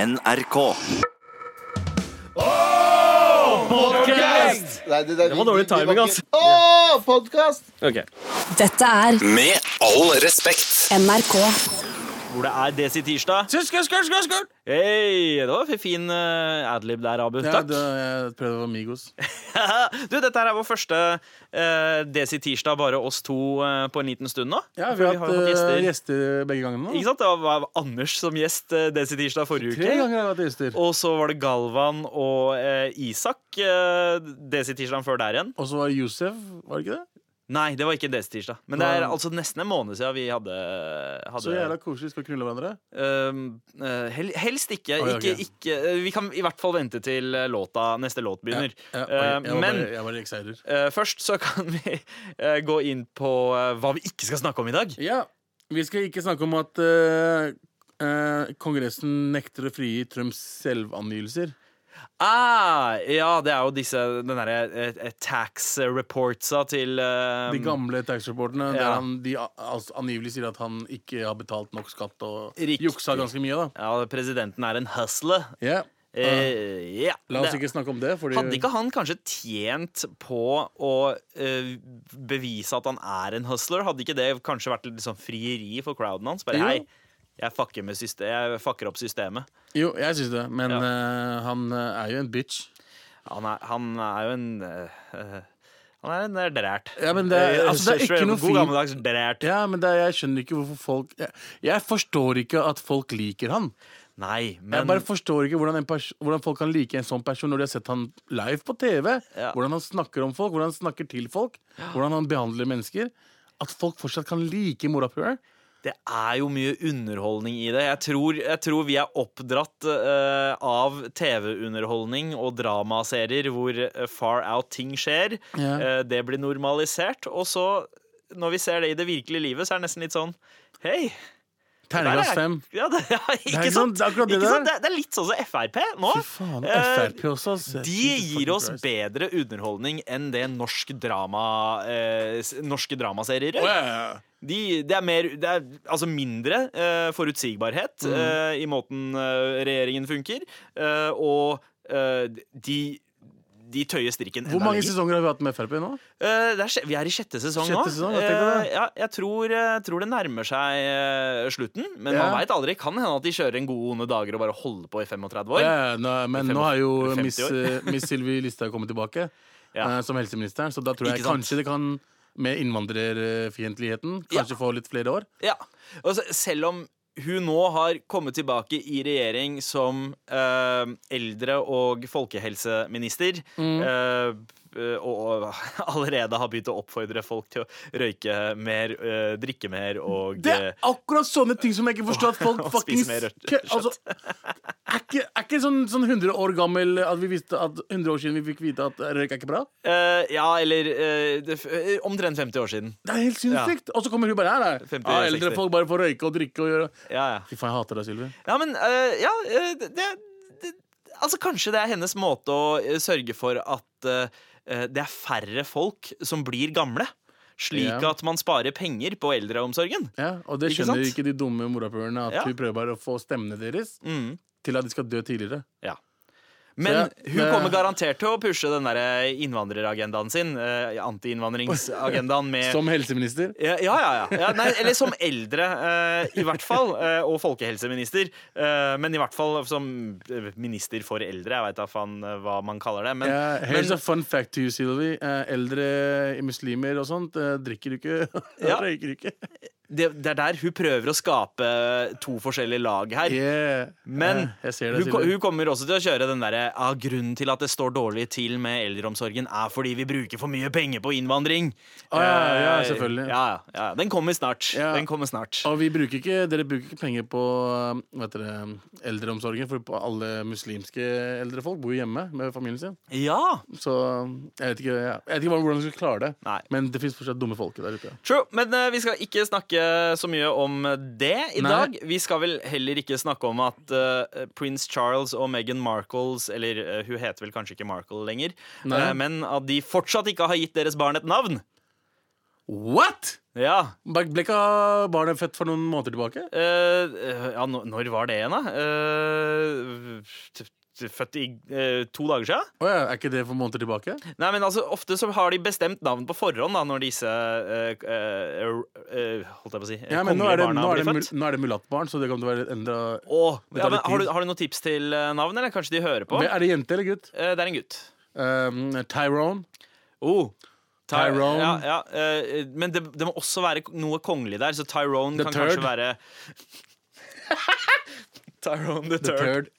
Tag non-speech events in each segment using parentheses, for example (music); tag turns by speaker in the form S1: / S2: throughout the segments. S1: NRK.
S2: Nei, det, det,
S3: var dårlig timing, altså.
S2: Å, podkast!
S3: Ok.
S4: Dette er
S1: Med all respekt.
S4: NRK.
S5: hvor det er Desi Tirsdag. Hei, det var en fin eh, adlib der, Abu.
S6: Ja,
S5: Takk.
S6: det, jeg prøvde å være Migos.
S5: (laughs) du, dette her er vår første eh, Desi Tirsdag, bare oss to eh, på en liten stund nå.
S6: Ja,
S5: For
S6: vi har hatt
S5: jo
S6: eh,
S5: gjester.
S6: gjester. begge gangene nå.
S5: Ikke sant? Det var var Anders som gjest eh, Desi Tirsdag forrige
S6: Tre
S5: uke.
S6: ganger har vi hatt gjester.
S5: Og så var det Galvan og eh, Isak eh, Desi Tirsdagen før der igjen.
S6: Og så var Yousef, var det ikke det?
S5: Nei, det var ikke en Desi Tirsdag. Men det er altså nesten en måned siden vi hadde,
S6: Så jævla
S5: hadde
S6: koselig. Skal knulle hverandre.
S5: Øhm, øh, hel, helst ikke.
S6: Oi,
S5: ikke,
S6: ok.
S5: ikke øh, vi kan i hvert fall vente til øh, låta, neste låt begynner.
S6: Ja, oi,
S5: Eh,
S6: jeg var
S5: men
S6: bare, jeg var excited.
S5: øh, først så kan vi øh, gå inn på øh, hva vi ikke skal snakke om i dag.
S6: Ja, vi skal ikke snakke om at eh, eh, Kongressen nekter å frigi Trumps selvangivelser.
S5: Ah, ja, det er jo disse den derre eh, eh, tax reportsa til øh,
S6: De gamle tax-reporterne der
S5: ja.
S6: han de, a- altså, angivelig sier at han ikke har betalt nok skatt og
S5: Riktig.
S6: juksa ganske mye. da
S5: Ja, presidenten er en hustler.
S6: Ja, eh,
S5: Eh, ja.
S6: La oss
S5: det-
S6: ikke snakke om det. Fordi,
S5: Hadde ikke han kanskje tjent på å eh, bevise at han er en hustler? Hadde ikke det kanskje vært litt sånn frieri for crowden hans? Bare
S6: Jo.
S5: hei, jeg fucker, med syste- jeg fucker opp systemet.
S6: Jo, jeg syns det, men eh, han eh, er jo en bitch.
S5: Han er, han er jo en eh, eh, Han er en eh, drært.
S6: Ja, men det er-
S5: Eh,
S6: altså, det er ikke noe
S5: God
S6: fint-
S5: gammeldags drært.
S6: Ja, men det, er- jeg skjønner ikke hvorfor folk jeg, jeg forstår ikke at folk liker han.
S5: Nei,
S6: Jeg
S5: men
S6: bare forstår ikke hvordan, en pers hvordan folk kan like en sånn person når de har sett han live på TV.
S5: Ja.
S6: Hvordan han snakker om folk, hvordan han snakker til folk, hvordan han behandler mennesker. At folk fortsatt kan like morapuleren.
S5: det er jo mye underholdning i det. Jeg tror, jeg tror vi er oppdratt eh, av TV-underholdning og dramaserier hvor eh, far out ting skjer.
S6: Ja.
S5: Eh, det blir normalisert. Og så, når vi ser det i det virkelige livet, så er det nesten litt sånn Hei! der er
S6: Terningkast
S5: jeg-
S6: fem.
S5: Ja, det, ja, (laughs) ikke,
S6: ikke sant?
S5: sant?
S6: Det er akkurat det
S5: ikke
S6: der.
S5: sant? Det, er- det er litt sånn som Frp nå.
S6: Fy faen.
S5: Eh,
S6: Frp også. ass.
S5: de
S6: Jesus
S5: gir
S6: fucking
S5: oss
S6: Christ.
S5: bedre underholdning enn det norsk drama, eh, s- norske dramaserier gjør.
S6: Å, ja, ja, ja.
S5: De, det er, mer, det er altså mindre eh, forutsigbarhet
S6: Mm.
S5: eh, i måten eh, regjeringen funker, eh, og eh, de, de tøyer strikken
S6: Hvor
S5: enda
S6: mange
S5: lenger.
S6: sesonger har vi hatt med Frp nå?
S5: Eh, det er, sj- vi er i sjette sesong nå.
S6: Sjette sesong, ja, tenk på det.
S5: Eh, ja, jeg tror, eh, tror det nærmer seg eh, slutten, men
S6: Ja.
S5: man veit aldri. Kan hende at de kjører en god onde dager og bare holder på i 35 år.
S6: Ja, ja, nå, men
S5: I
S6: nå har jo
S5: 50
S6: Miss,
S5: år.
S6: eh, miss Sylvi Listhaug kommet (laughs) tilbake
S5: Ja.
S6: eh, som helseministeren, så da tror jeg
S5: Ikke sant?
S6: kanskje det kan med innvandrerfiendtligheten. Kanskje få litt flere år.
S5: Ja, altså, Selv om hun nå har kommet tilbake i regjering som eh, eldre- og folkehelseminister,
S6: Mm.
S5: eh, og, og (laughs) allerede har begynt å oppfordre folk til å røyke mer, eh, drikke mer og
S6: Det er akkurat sånne ting som jeg ikke
S5: (laughs)
S6: forstår at folk
S5: Og
S6: fuckings
S5: spise mer rødt
S6: kø- altså, Er ikke, er ikke sånn, sånn 100 år gammel at vi visste at 100 år siden vi fikk vite at røyk er ikke bra?
S5: eh, Ja, eller eh, det, f- eh, omtrent 50 år siden.
S6: Det er helt sinnssykt! Og så kommer hun bare her, der.
S5: 50,
S6: Ja, eldre
S5: 60.
S6: folk bare får røyke og drikke og gjøre
S5: Ja, ja.
S6: Fy faen, jeg hater deg, Sylvi.
S5: Ja, men eh, ja, eh, det, det, Altså, kanskje det er hennes måte å eh, sørge for at eh, det er færre folk som blir gamle. Slik
S6: Ja.
S5: at man sparer penger på eldreomsorgen.
S6: Ja, og det
S5: Ikke
S6: skjønner
S5: sant?
S6: ikke, de dumme morapulerne, at
S5: Ja.
S6: vi prøver bare å få stemmene deres
S5: Mm.
S6: til at de skal dø tidligere.
S5: Men
S6: Så jeg-
S5: hun
S6: det-
S5: kommer garantert til å pushe den der eh, innvandreragendaen sin. Eh, Antiinnvandringsagendaen med
S6: Som helseminister.
S5: Ja, ja, ja. ja. ja nei, eller som eldre, eh, i hvert fall. eh, og folkehelseminister. Eh, men i hvert fall som eh, minister for eldre. Jeg veit da faen eh, hva man kaller det. Men,
S6: Ja, here's
S5: men
S6: a fun fact to you, Sylvi. Eh, eldre muslimer og sånt eh, drikker ikke (laughs)
S5: Ja.
S6: røyker ikke.
S5: det, det er der hun prøver å skape to forskjellige lag her.
S6: (laughs) Yeah.
S5: Men
S6: Eh, jeg ser det,
S5: hun, ko-
S6: Sylvi.
S5: hun kommer også til å kjøre den derre ah, Grunnen til at det står dårlig til med eldreomsorgen, er fordi vi bruker for mye penger på innvandring.
S6: Å, Ah, ja, ja,
S5: Eh,
S6: selvfølgelig.
S5: Ja, ja, ja. Den kommer snart.
S6: Ja.
S5: Den kommer snart.
S6: Og vi bruker ikke, dere bruker ikke penger på um, vet dere, eldreomsorgen, for på alle muslimske eldre folk bor jo hjemme med familien sin.
S5: Ja!
S6: Så eh, jeg vet ikke, ja. jeg vet ikke hva- hvordan vi skal klare det.
S5: Nei.
S6: Men det fins fortsatt dumme folk der ute.
S5: True, men eh, vi skal ikke snakke så mye om det i
S6: Nei.
S5: dag. Vi skal vel heller ikke snakke om at eh, prins Charles og Meghan Markles Eller eh, hun heter vel kanskje ikke Markle lenger,
S6: Nei.
S5: eh, men at de fortsatt ikke har gitt deres barn et navn.
S6: What?!
S5: Ja,
S6: Ble ble ikke barnet født for noen måneder tilbake?
S5: Eh, eh, ja nå- når var det igjen, da? Eh, født i eh, to dager siden.
S6: Å ja, er ikke det for måneder tilbake?
S5: Nei, men altså, Ofte så har de bestemt navn på forhånd da, når disse eh, eh, eh, Holdt jeg på å si eh,
S6: Ja, men nå
S5: kongelige
S6: er det,
S5: barna
S6: nå er det,
S5: blir
S6: mul-
S5: født.
S6: nå er det mulattbarn, så det kan være enda
S5: Åh,
S6: Det
S5: ja,
S6: tar
S5: men,
S6: litt
S5: har, du,
S6: tid.
S5: har du noen tips til eh, navn, eller kanskje de hører på?
S6: Men Er det jente eller gutt?
S5: Eh, det er en gutt.
S6: Um, Tyrone.
S5: Oh. Ty-
S6: Tyrone.
S5: Ja, ja, eh, men det, det må også være noe kongelig der, så Tyrone
S6: The
S5: kan
S6: third.
S5: kanskje være (laughs) Tyrone the,
S6: The
S5: third.
S6: third.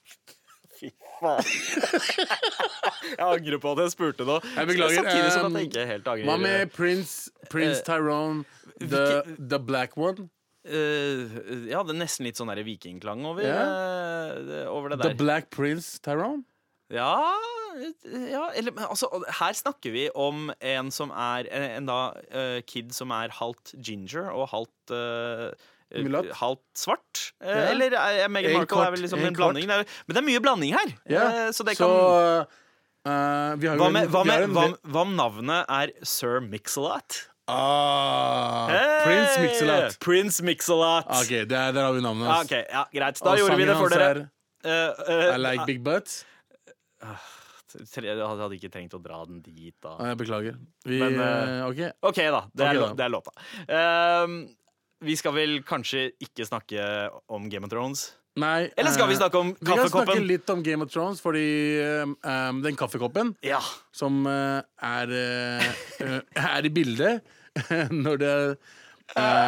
S5: (laughs) Jeg angrer på at jeg spurte nå.
S6: Jeg beklager,
S5: Samtidig som at
S6: eh,
S5: jeg ikke helt angrer.
S6: Hva med prins, prins
S5: Eh,
S6: Tyrone, the, the black one?
S5: Eh, ja, det er nesten litt sånn der vikingklang over, eh, det- over det
S6: The
S5: der.
S6: black prince Tyrone?
S5: ja, ja eller, men altså, Her snakker vi om en som er En, en da eh, kid som er halvt ginger og halvt eh, eh,
S6: Mulatt.
S5: Halvt svart. Eh,
S6: Ja.
S5: Eller eh, Meghan
S6: En
S5: Markle
S6: kvart,
S5: er vel liksom
S6: en
S5: en blanding. Det er, men det er mye blanding her.
S6: Ja,
S5: eh, så det
S6: så
S5: kan
S6: eh, vi har jo
S5: hva
S6: en-
S5: med, hva,
S6: vi
S5: med,
S6: har en-
S5: hva, hva om navnet er Sir Mix-a-Lot?
S6: Ah, Prince Mix-a-Lot.
S5: Prince Mix-a-Lot.
S6: Ok, der, der har vi navnet
S5: Ja,
S6: hans.
S5: ok, ja, greit. Da gjorde vi det for dere. Eh, eh,
S6: I like big butts.
S5: tre, jeg hadde ikke trengt å dra den dit,
S6: Ah,
S5: da.
S6: jeg beklager. Vi,
S5: Men,
S6: eh, ok,
S5: OK, da. Det er,
S6: Ok,
S5: lo-
S6: da.
S5: Det er låta. Ehm, vi skal vel kanskje ikke snakke om Game of Thrones?
S6: Nei,
S5: Eller skal vi
S6: eh,
S5: snakke om
S6: Vi kan snakke
S5: kaffekoppen?
S6: litt om Game of Thrones, fordi ehm, ehm, den kaffekoppen
S5: Ja.
S6: som eh, er, eh, (laughs) er i bildet (laughs) når det er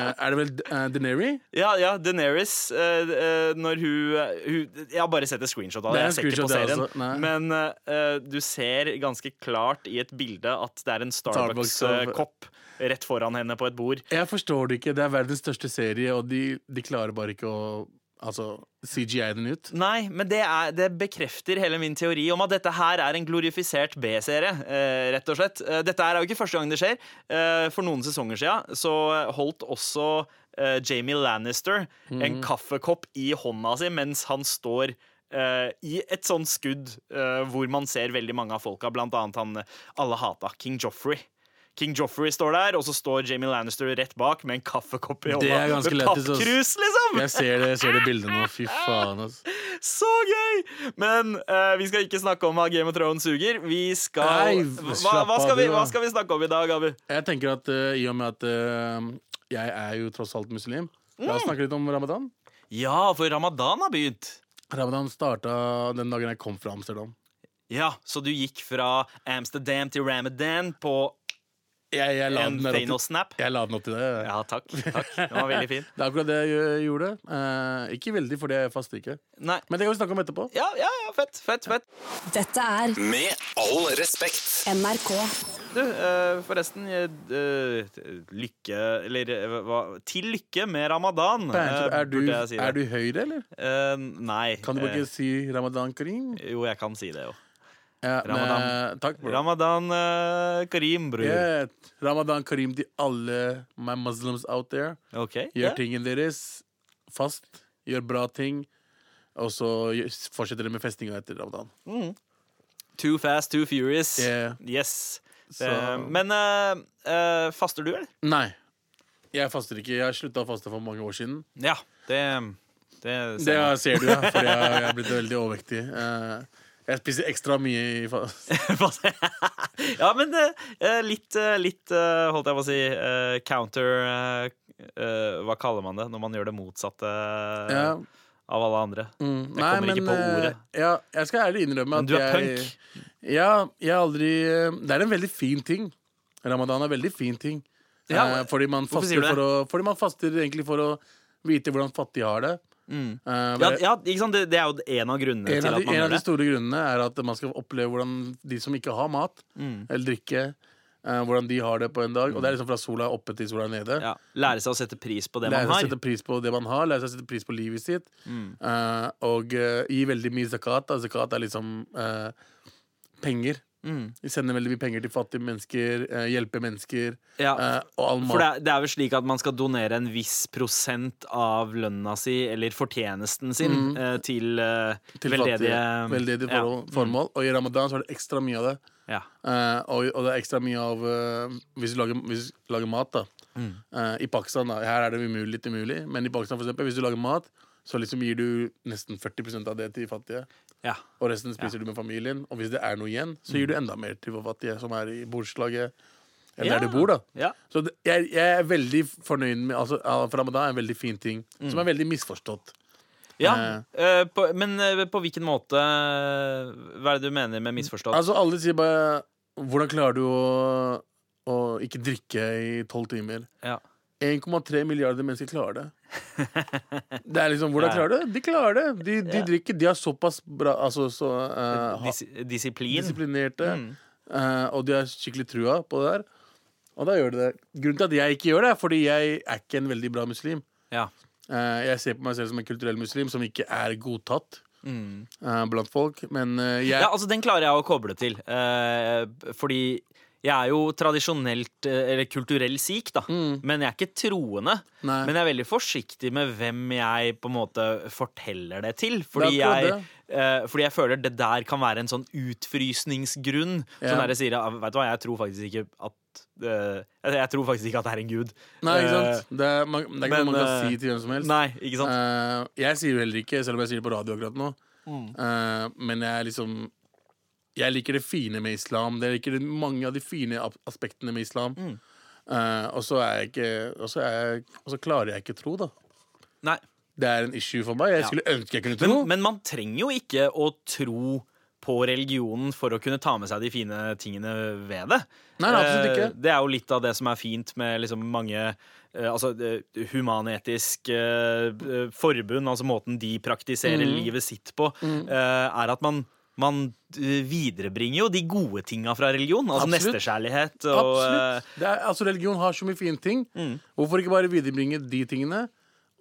S6: eh, Er det vel uh, Deneri?
S5: Ja, ja, Daenerys eh, eh, Når hun, hun Jeg har bare sett et screenshot av
S6: Det
S5: det.
S6: er
S5: Jeg ser
S6: en
S5: ikke på
S6: screenshot, det
S5: serien
S6: også. Nei.
S5: Men eh, du ser ganske klart i et bilde at det er en
S6: Starbucks-
S5: Starbucks-kopp rett foran henne på et bord.
S6: Jeg forstår det ikke. Det er verdens største serie, og de, de klarer bare ikke å altså, CGI den ut.
S5: Nei, men det, er, det bekrefter hele min teori om at dette her er en glorifisert B-serie, eh, rett og slett. Eh, Dette her er jo ikke første gang det skjer. Eh, for noen sesonger siden så holdt også eh, Jamie Lannister
S6: Mm.
S5: en kaffekopp i hånda si mens han står eh, i et sånt skudd eh, hvor man ser veldig mange av folka, blant annet han eh, alle hata, King Joffrey. King Joffrey står der, og så står Jamie Lannister rett bak med en kaffekopp i hånda.
S6: er ganske
S5: med
S6: lættis, ass.
S5: pappkrus, liksom!
S6: Jeg ser det, jeg ser det bildet nå. Fy faen, altså.
S5: Så gøy! Men eh, vi skal ikke snakke om at Game of Thrones suger. Vi skal
S6: Nei,
S5: hva,
S6: slapp
S5: hva, skal
S6: av,
S5: vi,
S6: du, da.
S5: hva skal vi snakke om i dag, Abu?
S6: Jeg tenker at eh, i og med at eh, jeg er jo tross alt muslim La
S5: Mm.
S6: oss snakke litt om ramadan.
S5: Ja, for ramadan har begynt.
S6: Ramadan starta den dagen jeg kom fra Amsterdam.
S5: Ja, Så du gikk fra Amsterdam til Ramadan på
S6: Jeg, jeg, la,
S5: en
S6: den der opp
S5: Thanos-snap?
S6: til, jeg la den opp til det. jeg.
S5: Ja, takk. (laughs) takk Den var veldig fin.
S6: Det er akkurat det jeg gjø- gjorde. Eh, ikke veldig, for det faster ikke.
S5: Nei.
S6: Men det kan vi snakke om etterpå.
S5: Ja, ja, ja, fett, fett, fett.
S3: Dette er
S1: Med all respekt.
S3: NRK.
S5: Du, eh, forresten eh, eh, Lykke Eller eh, hva til lykke med ramadan,
S6: Er,
S5: eh,
S6: er, du,
S5: burde jeg si det.
S6: er du høyre, eller?
S5: Eh, nei.
S6: Kan du
S5: eh,
S6: ikke si Ramadan Karim?
S5: Jo, jeg kan si det, jo.
S6: Ja,
S5: Ramadan.
S6: men, eh, takk, bro.
S5: Ramadan eh, Karim, bror.
S6: Yeah, Ramadan Karim til alle my muslims out there.
S5: Ok,
S6: Gjør
S5: ja.
S6: tingen deres fast. Gjør bra ting. Og så gjør- fortsetter dere med festinga etter ramadan.
S5: Too fast, too furious
S6: Yeah.
S5: Yes
S6: Så-
S5: Eh, Men eh, eh, faster du, eller?
S6: Nei. Jeg faster ikke. Jeg slutta å faste for mange år siden.
S5: Ja, det, det,
S6: Det jeg ser du, ja. For jeg, jeg er blitt veldig overvektig. Eh, jeg spiser ekstra mye i fast.
S5: (laughs) Ja, men eh, eh, litt, eh, litt eh, holdt jeg på å si eh, Counter eh, eh, Hva kaller man det når man gjør det motsatte eh,
S6: Ja.
S5: Av alle andre
S6: Mm,
S5: Jeg kommer ikke på
S6: eh,
S5: ordet.
S6: Ja, jeg skal ærlig innrømme
S5: Men
S6: at
S5: du er
S6: jeg, Ja, jeg har aldri eh, Det er en veldig fin ting. Ramadan er en veldig fin ting.
S5: Ja,
S6: Eh, fordi, man
S5: hvorfor sier
S6: faster
S5: du det?
S6: for å, fordi man faster egentlig for å vite hvordan fattige har det. Eh,
S5: ja,
S6: det-
S5: ja, ikke sant? Det, det er jo en av grunnene
S6: en,
S5: til
S6: av de,
S5: at man
S6: en av
S5: gjør
S6: de
S5: det
S6: store grunnene er at man skal oppleve hvordan de som ikke har mat eller drikke, eh, hvordan de har det på en dag. Og det er liksom fra sola er oppe til sola er nede.
S5: ja, Lære seg å sette pris på det
S6: Lære
S5: man
S6: seg å
S5: har Mm.
S6: sette pris på det man har, lære seg å sette pris på livet sitt. eh, og eh, gi veldig mye zakat. Da. Zakat er liksom eh, penger.
S5: Mm.
S6: Vi sender veldig mye penger til fattige mennesker, eh, hjelper mennesker.
S5: Ja.
S6: eh, og all
S5: For det
S6: mat.
S5: er, det er vel slik at man skal donere en viss prosent av lønna si, eller fortjenesten sin, eh, til, eh,
S6: Mm. Til
S5: veldedige eh, mm,
S6: fattige, veldedige forhold, formål. Og i ramadan så er det ekstra mye av det.
S5: Ja, ja.
S6: Eh, og, og det er ekstra mye av eh, Hvis du lager, hvis
S5: Mm.
S6: du lager mat, da. Eh, I Pakistan, da. Her er det umulig, litt umulig, men i Pakistan, for eksempel, hvis du lager mat, så liksom gir du nesten 40 av det til fattige.
S3: Ja.
S6: Og resten spiser du med familien. Og hvis det er noe igjen, så
S5: Mm.
S6: gir du enda mer til fattige som er i borettslaget. Eller
S5: Ja.
S6: der du bor, da.
S5: Ja.
S6: Så det, jeg, jeg er veldig fornøyd med altså, al- For ramadan er en veldig fin ting,
S5: Mm.
S6: som er veldig misforstått.
S5: ja. eh, på, men eh, på hvilken måte eh, Hva er det du mener med misforstått?
S6: Altså, alle sier bare Hvordan klarer du å, å ikke drikke i tolv timer?
S5: Ja.
S6: 1,3 milliarder mennesker klarer
S5: (laughs)
S6: det. Det er liksom, Hvordan
S5: Ja.
S6: klarer du det? De klarer det. De, de
S5: Ja.
S6: drikker. De er såpass bra altså, så, eh, ha-
S5: Dis disiplin?
S6: disiplinerte,
S5: Mm.
S6: eh, og de har skikkelig trua på det der. Og da gjør de det. Grunnen til at jeg ikke gjør det, er fordi jeg er ikke en veldig bra muslim.
S5: Ja.
S6: Eh, jeg ser på meg selv som en kulturell muslim som ikke er godtatt
S5: Mm.
S6: eh, blant folk. Men eh, jeg
S5: ja, altså den klarer jeg å koble til. eh, fordi jeg er jo tradisjonelt, eh, eller kulturell sikh, da. Men jeg er ikke troende.
S6: Mm. Nei.
S5: Men jeg er veldig forsiktig med hvem jeg på en måte forteller det til. Fordi,
S6: Det er akkurat
S5: jeg, eh, fordi jeg føler det der kan være en sånn utfrysningsgrunn.
S6: Ja.
S5: Sånn der jeg sier ah, Vet du hva, jeg tror faktisk ikke at eh, jeg- Jeg tror faktisk ikke at det er en gud. Eh,
S6: Nei, ikke sant? Det er, man, det er ikke
S5: men,
S6: noe man kan
S5: eh,
S6: si til hvem som
S5: Eh,
S6: helst.
S5: Nei, ikke sant?
S6: Eh, jeg sier det heller ikke, selv om jeg sier det på radio akkurat nå. Eh, men jeg er liksom Jeg liker det fine med islam. Jeg liker det, mange av de fine ap- aspektene med islam. Eh, og så er jeg ikke Og så er jeg- og så klarer jeg ikke tro, da.
S5: Nei.
S6: Det er en issue for meg. Jeg skulle ønske jeg kunne tro.
S5: Men, men man trenger jo ikke å tro på religionen for å kunne ta med seg de fine tingene ved det.
S6: Nei, nei, absolutt ikke.
S5: Eh, Det er jo litt av det som er fint med liksom mange eh, altså, eh, human-etisk eh, eh, forbund, altså måten de praktiserer
S6: Mm.
S5: livet sitt på, eh, er at man man eh, viderebringer jo de gode tinga fra religion. Altså
S6: Absolutt.
S5: nestekjærlighet og eh, Mm.
S6: Absolutt. Det er, altså, religion har så mye fine ting. Hvorfor ikke bare viderebringe de tingene,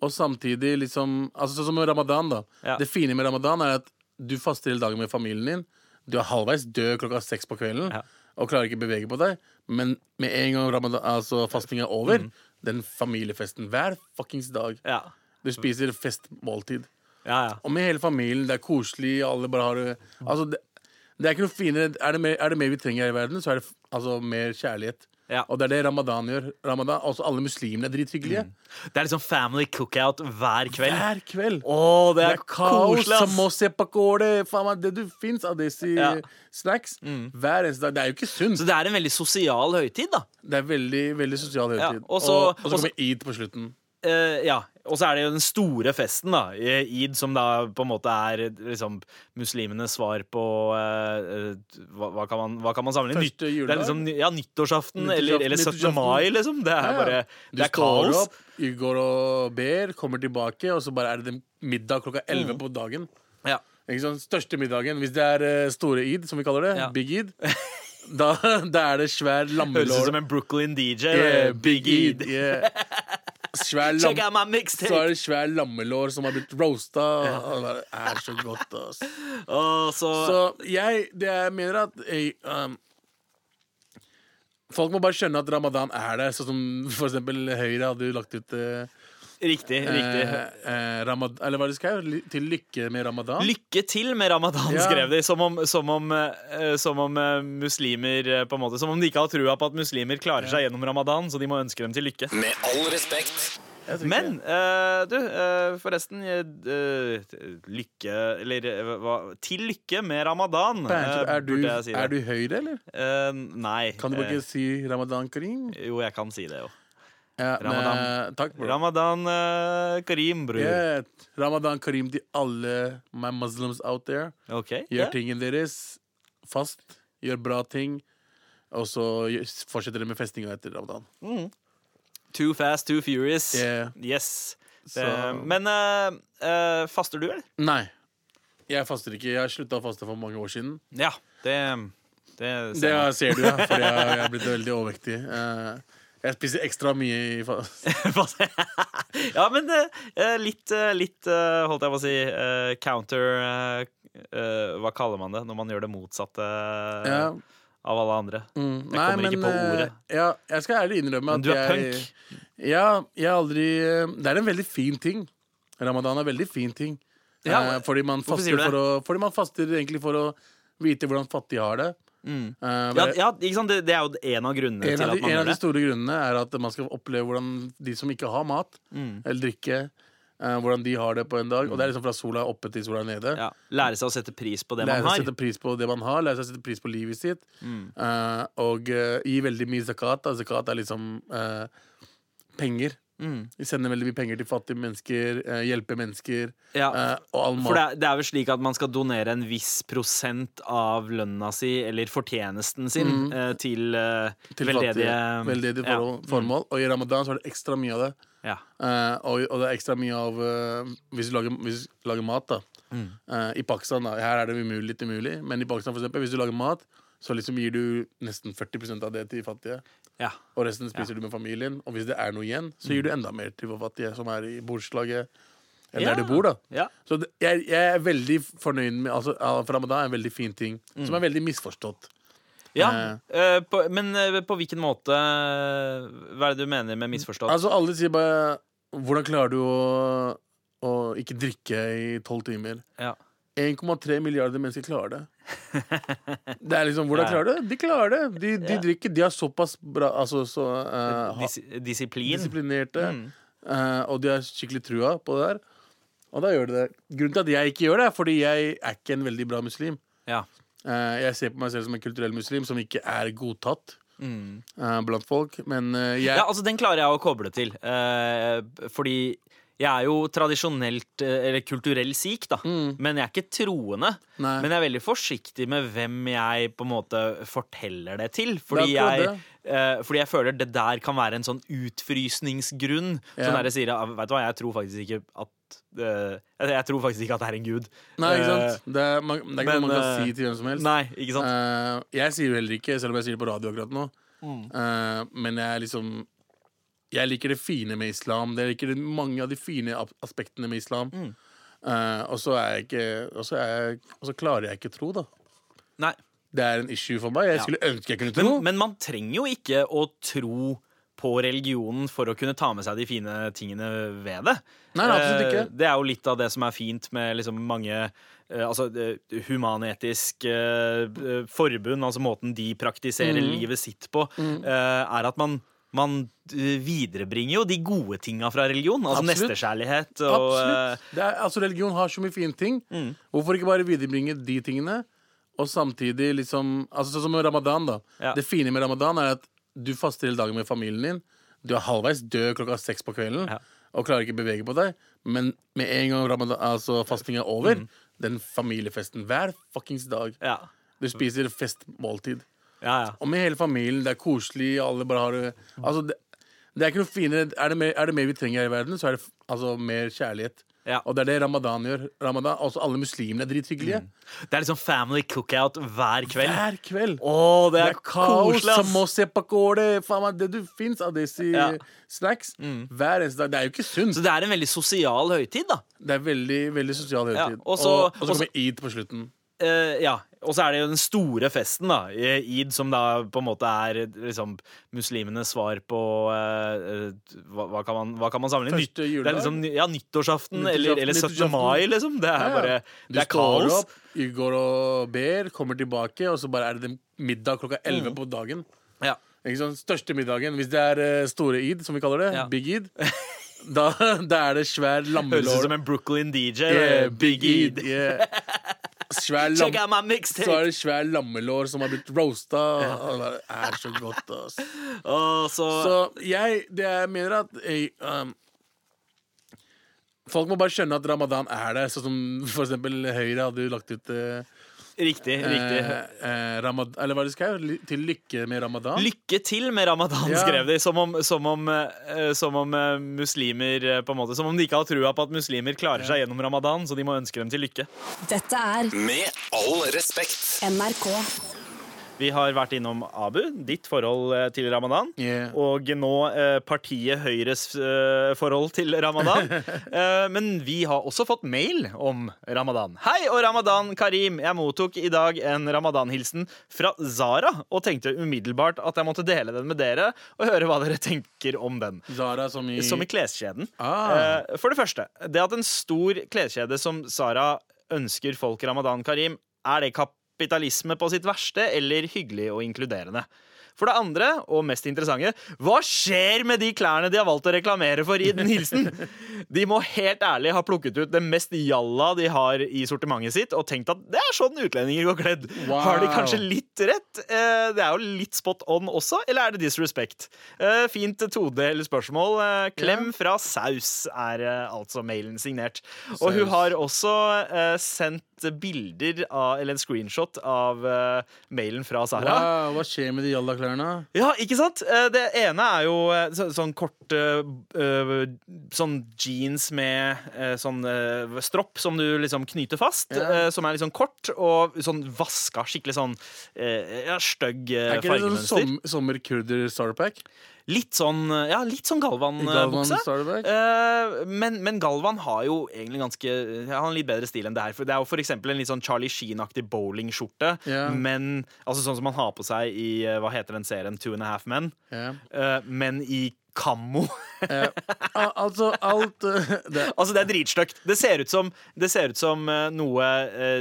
S6: og samtidig liksom Altså Sånn som ramadan, da.
S5: Ja.
S6: Det fine med ramadan er at du faster hele dagen med familien din. Du er halvveis død klokka seks på kvelden
S5: Ja.
S6: og klarer ikke å bevege på deg. Men med en gang ramadan, altså fasting er over, den familiefesten hver fuckings dag.
S5: Mm. Ja.
S6: Du spiser festmåltid.
S5: Ja, ja.
S6: Og med hele familien. Det er koselig. Alle bare har det Altså, det, det er ikke noe finere er det, mer, er det mer vi trenger her i verden, så er det f- altså, mer kjærlighet.
S5: Ja.
S6: Og det er det ramadan gjør. Ramadan, Også alle muslimene er drithyggelige.
S5: Det er liksom family cookout hver kveld.
S6: Hver kveld.
S5: Å, det
S6: det
S5: er,
S6: er kaos.
S5: koselig, ass!
S6: samosa, pakora, faen meg, Det du fins av disse
S5: Ja. Mm.
S6: snacks hver eneste dag. Det er jo ikke sunt.
S5: Så det er en veldig sosial høytid, da.
S6: Det er veldig veldig sosial
S5: Ja,
S6: høytid.
S5: og så-
S6: og, og så
S5: og så-
S6: kommer eid på slutten.
S5: Eh, ja. Og så er det jo den store festen, da. eh, Eid, som da på en måte er eh, liksom muslimenes svar på eh, eh, hva, hva, kan man, hva kan man sammenligne?
S6: Første
S5: Nytt-
S6: juledag?
S5: Det er liksom, ny- ja, nyttårsaften, eller,
S6: Nyttårsaften,
S5: eller 17.
S6: nyttårsaften.
S5: mai, liksom. Det er
S6: Ja, ja.
S5: bare
S6: Du
S5: Det er
S6: står
S5: kaos.
S6: opp, går og ber, kommer tilbake, og så bare er det middag klokka 11
S5: Mm.
S6: på dagen.
S5: Ja.
S6: Ikke sant? Største middagen, hvis det er eh, store id, som vi kaller det,
S5: Ja.
S6: big id, (laughs) da, da er det svær
S5: Høres ut som
S6: lammelår.
S5: en Brooklyn DJ.
S6: Yeah,
S5: eh, Big Eid.
S6: yeah. Svær lam-
S5: Check out my
S6: så er
S5: mixtape!
S6: det svær lammelår som har blitt roasta. og Det er så godt, ass.
S5: Og (laughs) så,
S6: Så jeg, det jeg mener at jeg, um, Folk må bare skjønne at ramadan er der, sånn som for eksempel Høyre hadde jo lagt ut eh,
S5: Riktig. riktig.
S6: eh, ramad, Eller hva er det de skrev? Ly- Til lykke med ramadan?
S5: Lykke til med ramadan,
S6: Ja.
S5: skrev de. Som om, som om, eh, som om eh, muslimer eh, på en måte, Som om de ikke har trua på at muslimer klarer seg gjennom ramadan, så de må ønske dem til lykke.
S1: Med all respekt.
S6: Jeg tror ikke-
S5: Men eh, du, eh, forresten eh, eh, Lykke Eller eh, hva Til lykke med ramadan,
S6: Bernt,
S5: eh,
S6: er, du,
S5: burde jeg si. det.
S6: er du Høyre, eller?
S5: Eh, nei.
S6: Kan du bare
S5: eh,
S6: ikke si ramadan karim?
S5: Jo, jeg kan si det, jo.
S6: Ja,
S5: Ramadan.
S6: men, takk, bro.
S5: Ramadan eh, karim, bror.
S6: Yeah. Ramadan karim til alle my muslims out there.
S5: OK?
S6: Gjør
S5: ja.
S6: tingen deres fast. Gjør bra ting. Og så gjør- fortsetter dere med festinga etter ramadan.
S5: Too fast, too furious.
S6: Yeah.
S5: Yes. Det,
S6: Så-
S5: men eh, eh, faster du, eller?
S6: Nei. Jeg faster ikke. Jeg slutta å faste for mange år siden.
S5: Ja, det, det
S6: Det
S5: ser jeg.
S6: ser du, ja, fordi jeg, jeg er blitt veldig overvektig. Eh, Jeg spiser ekstra mye i fast.
S5: (laughs) ja, men eh, litt, eh, litt eh, holdt jeg på å si, eh, counter eh, eh, Hva kaller man det når man gjør det motsatte eh,
S6: Ja.
S5: av alle andre?
S6: Mm,
S5: Jeg kommer ikke på
S6: eh,
S5: ordet.
S6: Ja, jeg skal ærlig innrømme
S5: Men
S6: at
S5: du er
S6: jeg,
S5: punk.
S6: Ja, jeg har aldri eh, Det er en veldig fin ting. Ramadan er en veldig fin ting.
S5: Ja,
S6: Eh, fordi, man
S5: hvorfor sier du det?
S6: faster for å, fordi man faster egentlig for å vite hvordan fattige har det. Eh,
S5: Mm. Ja,
S6: bare-
S5: ja, ikke sant? Det, det er jo en av grunnene
S6: en
S5: til
S6: av, de,
S5: at man
S6: en av
S5: gjør
S6: de
S5: det. Mm.
S6: store grunnene er at man skal oppleve hvordan de som ikke har mat eller drikke, eh, hvordan de har det på en dag. Og det er liksom fra sola er oppe til sola er nede.
S5: Ja. Lære seg å sette pris på det
S6: Lære
S5: man
S6: seg å
S5: har. Mm.
S6: sette pris på det man har, lære seg å sette pris på livet sitt. eh, og eh, gi veldig mye zakat. Da. Zakat er liksom eh, penger.
S5: Mm.
S6: Vi sender veldig mye penger til fattige mennesker, eh, hjelper mennesker.
S5: Ja.
S6: eh, og all
S5: For
S6: mat.
S5: det er, det er vel slik at man skal donere en viss prosent av lønna si, eller fortjenesten sin, eh, til, eh,
S6: Mm. Til
S5: veldedige Mm.
S6: fattige, veldedige forhold, formål. Og i ramadan så er det ekstra mye av det.
S5: Ja. ja.
S6: Eh, og, og det er ekstra mye av eh, hvis, du lager, hvis du lager mat, da.
S5: Mm.
S6: Eh, I Pakistan, da. Her er det umulig, litt umulig. Men i Pakistan, for eksempel, hvis du lager mat, så liksom gir du nesten 40 av det til fattige.
S5: ja. Mm.
S6: Og resten spiser du med familien. Og hvis det er noe igjen, så gir du enda mer til våre fattige som er i borettslaget. Eller der du bor, da.
S5: Ja.
S6: Så det, jeg, jeg er veldig fornøyd med altså, al- For ramadan er en veldig fin ting,
S5: Mm.
S6: som er veldig misforstått.
S5: Ja, eh, på, men eh, på hvilken måte eh, Hva er det du mener med misforstått?
S6: Altså, alle sier bare Hvordan klarer du å, å ikke drikke i tolv timer?
S5: ja.
S6: 1,3 milliarder mennesker klarer
S5: (laughs)
S6: det. Det er liksom, Hvordan
S5: Ja.
S6: klarer de det? De klarer det. De, de
S5: Ja.
S6: drikker. De er såpass bra altså, så, eh, ha-
S5: Dis disiplin?
S6: disiplinerte,
S5: Mm.
S6: eh, og de har skikkelig trua på det der. Og da gjør de det. Grunnen til at jeg ikke gjør det, er fordi jeg er ikke en veldig bra muslim.
S5: Ja.
S6: Eh, jeg ser på meg selv som en kulturell muslim som ikke er godtatt
S5: Mm.
S6: eh, blant folk. Men eh, jeg
S5: ja, altså den klarer jeg å koble til. eh, fordi jeg er jo tradisjonelt, eh, eller kulturell sikh, da. Men jeg er ikke troende.
S6: Mm. Nei.
S5: Men jeg er veldig forsiktig med hvem jeg på en måte forteller det til. Fordi,
S6: Det er akkurat
S5: jeg, eh, fordi jeg føler det der kan være en sånn utfrysningsgrunn.
S6: Ja.
S5: Sånn der jeg sier ah, Vet du hva, jeg tror faktisk ikke at eh, jeg- Jeg tror faktisk ikke at det er en gud.
S6: Nei, ikke
S5: Eh,
S6: sant? Det er, man, det er ikke
S5: men,
S6: noe man
S5: eh,
S6: kan si til hvem som helst.
S5: Nei, ikke sant? Mm.
S6: Eh, jeg sier jo heller ikke, selv om jeg sier det på radio akkurat nå. Eh, men jeg er liksom Jeg liker det fine med islam. Jeg liker det, mange av de fine ap- aspektene med islam.
S5: Mm.
S6: Eh, og så er jeg ikke Og så er jeg- og så klarer jeg ikke å tro, da. Eh,
S5: Nei.
S6: Det er en issue for meg. Jeg skulle ønske jeg kunne
S5: Men,
S6: tro.
S5: men man trenger jo ikke å tro på religionen for å kunne ta med seg de fine tingene ved det.
S6: Nei, nei, absolutt
S5: Eh,
S6: ikke.
S5: Det er jo litt av det som er fint med liksom mange eh, Altså eh, humanetisk eh, eh, forbund, altså måten de praktiserer
S6: Mm.
S5: livet sitt på, eh, er at man man eh, viderebringer jo de gode tinga fra religion. Altså
S6: Absolutt.
S5: nestekjærlighet og eh, Mm.
S6: Absolutt. Det er, altså, religion har så mye fine ting. Hvorfor ikke bare viderebringe de tingene, og samtidig liksom Altså Sånn som med ramadan, da.
S5: Ja.
S6: Det fine med ramadan er at du faster hele dagen med familien din. Du er halvveis død klokka seks på kvelden
S5: Ja.
S6: og klarer ikke å bevege på deg. Men med en gang ramadan, altså fasting er over, den familiefesten hver fuckings dag
S5: Mm. Ja.
S6: Du spiser festmåltid.
S5: Ja, ja.
S6: Og med hele familien, det er koselig, alle bare har det Altså, det, det er ikke noe finere er det, mer, er det mer vi trenger her i verden, så er det f- altså, mer kjærlighet.
S5: Ja.
S6: Og det er det ramadan gjør. Ramadan, Også alle muslimene er drithyggelige.
S5: Det er liksom family cookout hver kveld.
S6: Hver kveld.
S5: Å, det
S6: det
S5: er,
S6: er kaos,
S5: koselig, ass!
S6: samosa, pakole, faen meg, det du fins av disse
S5: Ja. Mm.
S6: snacks. Hver eneste dag. Det er jo ikke sunt.
S5: Så det er en veldig sosial høytid, da.
S6: Det er veldig veldig sosial
S5: Ja,
S6: høytid.
S5: og så-
S6: og, og så
S5: og så-
S6: kommer eid på slutten.
S5: Eh, ja. Og så er det jo den store festen, da. eh, Eid, som da på en måte er eh, liksom muslimenes svar på eh, eh, hva, hva, kan man, hva kan man sammenligne?
S6: Første
S5: Nytt- Det
S6: juledag?
S5: er liksom, ny- ja, nyttårsaften, eller, eller 17.
S6: nyttårsaften.
S5: mai, liksom. Det er
S6: Ja, ja.
S5: bare
S6: Du
S5: Det er
S6: står
S5: kaos.
S6: opp, du går og ber, kommer tilbake, og så bare er det middag klokka
S5: Mm.
S6: 11 på dagen.
S5: Ja.
S6: Ikke sant? Største middagen. Hvis det er eh, store id, som vi kaller det,
S5: Ja.
S6: big id, da, (laughs) da er det svær
S5: Høres ut
S6: lammelår.
S5: som en Brooklyn DJ.
S6: Yeah,
S5: eh, Big Eid.
S6: yeah. Svær lam,
S5: Check out my
S6: så er
S5: mixtape!
S6: det svær lammelår som har blitt roasta. og Det er så godt, ass.
S5: Og så,
S6: Så jeg, det jeg mener at jeg, um, Folk må bare skjønne at ramadan er der. Sånn som for eksempel Høyre hadde jo lagt ut eh,
S5: Riktig. riktig.
S6: eh, eh, ramad, Eller hva de skrev? Ly- Til lykke med ramadan.
S5: Lykke til med ramadan,
S6: Ja.
S5: skrev de. Som om, som om, eh, som om eh, muslimer eh, på en måte, Som om de ikke har trua på at muslimer klarer seg gjennom ramadan, så de må ønske dem til lykke.
S3: Dette er
S1: Med all respekt.
S3: NRK.
S5: Vi har vært innom Abu, ditt forhold eh, til ramadan.
S6: Yeah.
S5: Og nå eh, partiet Høyres eh, forhold til
S6: (laughs)
S5: ramadan. Eh, men vi har også fått mail om ramadan. Hei og ramadan, Karim. Jeg mottok i dag en ramadan-hilsen fra Zara og tenkte umiddelbart at jeg måtte dele den med dere og høre hva dere tenker om den.
S6: Zara som i,
S5: Som i kleskjeden.
S6: Ah.
S5: Eh, For det første, det at en stor kleskjede som Sara ønsker folk Ramadan Karim, er det kapitalisme på sitt verste eller hyggelig og inkluderende? For det andre, og mest interessante, hva skjer med de klærne de har valgt å reklamere for i den
S6: (laughs)
S5: hilsen? De må helt ærlig ha plukket ut det mest jalla de har i sortimentet sitt, og tenkt at det er sånn utlendinger går kledd.
S6: Wow.
S5: Har de kanskje litt rett? Eh, Det er jo litt spot on også, eller er det disrespect? Eh, Fint todel spørsmål. Eh, Klem fra saus er eh, altså mailen signert. Og hun
S6: Saus.
S5: har også eh, sendt bilder av, eller en screenshot av eh, mailen fra Sara.
S6: Wow, hva skjer med de jalla klærne?
S5: Ja, ikke sant? Eh, Det ene er jo eh, så, sånn kort eh, b- eh, Sånn jeans med eh, sånn eh, stropp som du liksom knyter fast. eh, Som er litt sånn kort og sånn vaska, skikkelig sånn eh, ja, stygg eh,
S6: Er ikke det sånn
S5: fargemønster.
S6: som, sommerkurder starpack?
S5: Litt sånn, eh, ja, litt sånn
S6: Galvan
S5: Galvan-bukse.
S6: starpack?
S5: Eh, men, men Galvan har jo egentlig ganske Han har en litt bedre stil enn det her. For det er jo for eksempel en litt sånn Charlie Sheen-aktig bowlingskjorte.
S6: Ja.
S5: Men altså sånn som han har på seg i eh, hva heter den serien Two and a Half Men.
S6: Ja.
S5: Eh, men i kammo. (laughs)
S6: Eh, al- altså, alt eh, (laughs) det,
S5: altså, det er dritstygt. Det ser ut som, det ser ut som eh, noe eh,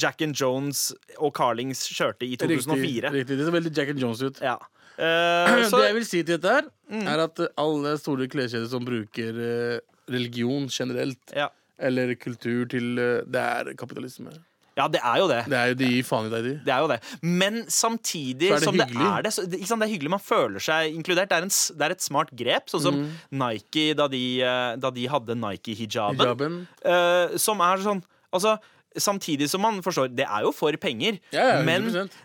S5: Jack and Jones og Carlings kjørte i 2004.
S6: Riktig, riktig. Det ser veldig Jack and Jones ut. (clears throat)
S5: Ja. Eh, så
S6: det jeg vil si til dette, her er at eh, alle store kleskjeder som bruker eh, religion generelt,
S5: ja.
S6: eller kultur til eh, Det er kapitalisme.
S5: ja, det er jo det.
S6: Det er jo de gir faen i deg, de.
S5: Det er jo det. Men samtidig
S6: Så er det
S5: som det
S6: hyggelig.
S5: er det, så, det, ikke sant? det er hyggelig man føler seg inkludert. Det er, en, s- det er et smart grep, sånn som
S6: Mm.
S5: Nike da de, eh, da de hadde Nike-hijaben.
S6: Hijaben.
S5: eh, som er sånn Altså, samtidig som man forstår Det er jo for penger,
S6: Ja, ja,
S5: men
S6: 100%.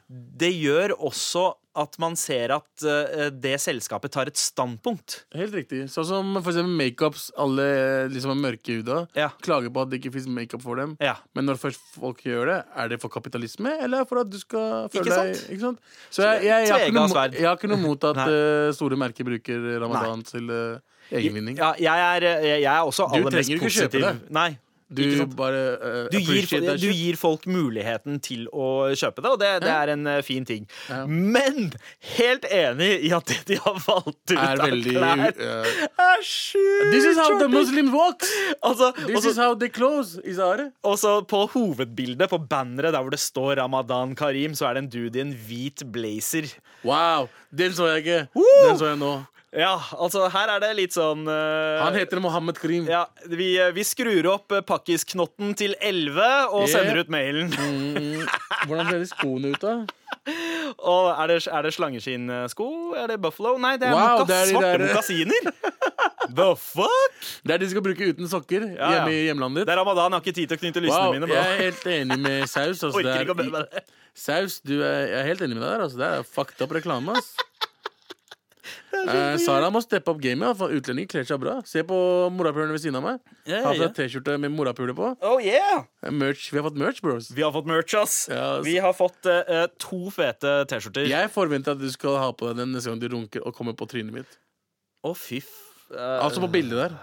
S5: det gjør også at man ser at eh, det selskapet tar et standpunkt.
S6: Helt riktig. Sånn som for eksempel makeups. Alle eh, liksom er mørkehuda.
S5: Ja.
S6: Klager på at det ikke fins makeup for dem.
S5: Ja.
S6: Men når først folk gjør det, er det for kapitalisme, eller for at du skal føle
S5: Ikke
S6: deg Ikke sant? Så jeg, jeg, jeg, har ikke
S5: Tvega
S6: noe mo-
S5: sverd.
S6: jeg har ikke noe mot at
S5: Nei.
S6: eh, store merker bruker ramadan til eh, egenvinning.
S5: Ja, jeg, er, eh, jeg er også
S6: Du
S5: aller mest
S6: trenger ikke kjøpe
S5: positiv.
S6: det.
S5: Nei.
S6: du
S5: ikke sant?
S6: bare eh,
S5: Du gir,
S6: appreciate that
S5: du
S6: shit.
S5: gir folk muligheten til å kjøpe det, og det, det er en eh, fin ting. Men helt enig i at det de har valgt ut
S6: er
S5: av
S6: veldig
S5: klær, (laughs)
S6: eh,
S5: er sjukt!
S6: This is how the
S5: shorty.
S6: Muslims walk!
S5: Altså,
S6: This
S5: altså-
S6: is how they close, Izare.
S5: Og så på hovedbildet, på banneret der hvor det står Ramadan Karim, så er det en dude i en hvit blazer.
S6: Wow! Den så jeg ikke.
S5: Woo!
S6: Den så jeg nå.
S5: Ja, altså her er det litt sånn eh,
S6: Han heter Mohammed Karim.
S5: ja, vi, eh, vi skrur opp eh, pakkisknotten til 11 og
S6: Yeah.
S5: sender ut mailen.
S6: Mm, hvordan ser de skoene ut, da?
S5: Og er det, er det slangeskinnsko? Er det buffalo? Nei, det er
S6: Wow,
S5: mokas,
S6: det er de
S5: svarte
S6: der-
S5: mokasiner.
S6: (laughs)
S5: The fuck?
S6: Det er de skal bruke uten sokker
S5: Ja, ja.
S6: hjemme i hjemlandet
S5: Det
S6: ditt.
S5: er ramadan, jeg har ikke tid til å knytte lysene
S6: Wow,
S5: mine.
S6: jeg er
S5: Bro.
S6: helt enig med Saus. Altså, det
S5: (laughs) Orker
S6: er,
S5: ikke å be meg det.
S6: saus, du er, jeg er helt enig med deg der. Altså, det er fucked up reklame.
S5: (laughs)
S6: ass Eh, Sara må steppe opp gamet. da, for Utlendinger kler seg bra. Se på morapulerne ved siden av meg.
S5: Ja, ja,
S6: Har
S5: ja.
S6: fått T-skjorte med morapule på. Eh,
S5: Oh yeah!
S6: Merch. Vi har fått merch, bros.
S5: Vi har fått merch, ass.
S6: Ja, ass.
S5: Vi har fått eh, eh, to fete T-skjorter.
S6: Jeg forventer at du skal ha på deg den neste gang du runker og kommer på trynet mitt.
S5: Å, fy f... eh,
S6: Altså på bildet der.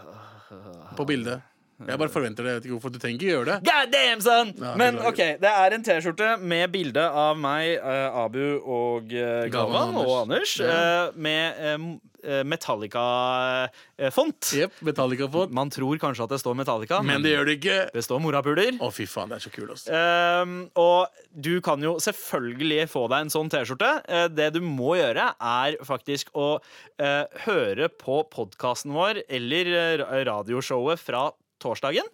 S6: På bildet. Jeg bare forventer det. Jeg vet ikke hvorfor du trenger ikke gjøre det.
S5: God damn, son!
S6: Ja,
S5: Men
S6: beklager.
S5: OK, det er en T-skjorte med bilde av meg, eh, Abu og eh, Galvan
S6: Galvan og
S5: og Anders, eh, med eh, Metallica-font.
S6: Jepp, Metallica-fot.
S5: Man tror kanskje at det står Metallica,
S6: Men det gjør det ikke.
S5: det står morapuler.
S6: Å, fy faen, det er så kult, ass.
S5: Ehm, og du kan jo selvfølgelig få deg en sånn T-skjorte. Eh, det du må gjøre, er faktisk å eh, høre på podkasten vår eller eh, ra- radioshowet fra torsdagen,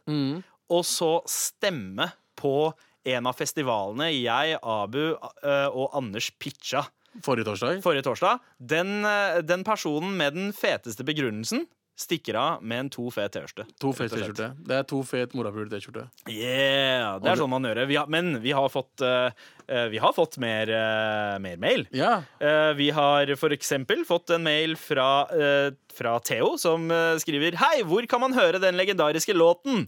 S5: og så stemme på en av festivalene jeg, Abu eh, og Anders pitcha
S6: Forrige torsdag.
S5: forrige torsdag. Den, eh, den personen med den feteste begrunnelsen stikker av med en to fet T-skjorte.
S6: To fet T-skjorte. Det er to fet morapuler-T-skjorte.
S5: Yeah, det er sånn man gjør det. Vi har, men vi har fått, eh, eh, vi har fått mer, eh, mer mail.
S6: Ja.
S5: Eh, vi har for eksempel fått en mail fra, eh, fra Theo, som eh, skriver Hei, hvor kan man høre den legendariske låten?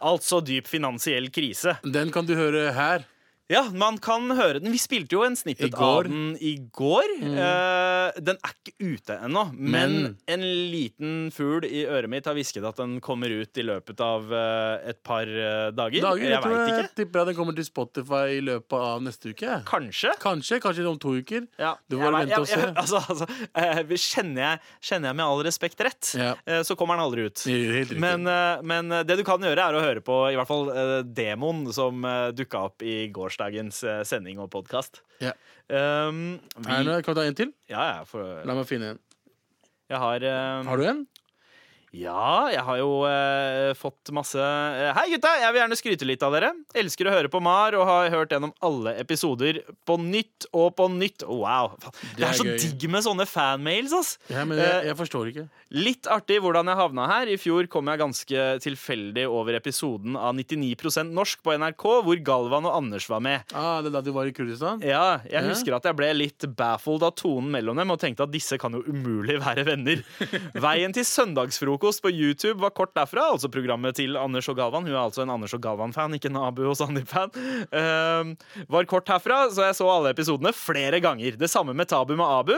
S5: Altså dyp finansiell krise.
S6: Den kan du høre her.
S5: Ja, man kan høre den. Vi spilte jo en
S6: I
S5: snippet
S6: går.
S5: av den i går. Eh, den er ikke ute ennå, men,
S6: Men-
S5: en liten fugl i øret mitt har hvisket at den kommer ut i løpet av eh, et par eh, dager.
S6: Dager, jeg,
S5: Jeg
S6: tror
S5: veit
S6: jeg,
S5: ikke.
S6: tipper at den kommer til Spotify i løpet av neste uke. jeg.
S5: Kanskje.
S6: Kanskje, kanskje om to uker.
S5: Ja.
S6: Du får bare
S5: Jeg-
S6: vente og
S5: jeg-
S6: se.
S5: jeg- (laughs) Altså, altså, eh, kjenner, jeg, kjenner jeg med all respekt rett,
S6: Ja.
S5: eh, så kommer den aldri ut.
S6: (laughs) Helt riktig.
S5: Men, eh, men eh, det du kan gjøre, er å høre på i hvert fall eh, demoen som eh, dukka eh, opp i gårs gårsdagens eh, sending og podkast.
S6: Ja.
S5: Um, vi,
S6: Er det noe- Kan vi ta en til?
S5: ja, ja, for,
S6: La meg finne en.
S5: jeg har um,
S6: Har du en?
S5: Ja, jeg har jo eh, fått masse eh, Hei, gutta! Jeg vil gjerne skryte litt av dere. Elsker å høre på MAR og har hørt gjennom alle episoder på nytt og på nytt. Wow. Faen, Det
S6: er
S5: er så
S6: gøy.
S5: digg med sånne fanmails, ass!
S6: Ja, men
S5: Eh,
S6: jeg, jeg forstår ikke.
S5: Litt artig hvordan jeg havna her. I fjor kom jeg ganske tilfeldig over episoden av 99 norsk på NRK, hvor Galvan og Anders var med.
S6: Ah, det er da du var i Kurdistan?
S5: Ja, jeg
S6: Ja.
S5: husker at jeg ble litt baffled av tonen mellom dem og tenkte at disse kan jo umulig være
S6: (laughs)
S5: venner. Veien til søndagsfrokost på YouTube var kort derfra, altså programmet til Anders og Galvan. Hun er altså en Anders og Galvan-fan, ikke en Abu og Sandeep-fan. Ehm, var kort herfra, så jeg så alle episodene flere ganger. Det samme med Tabu med Abu.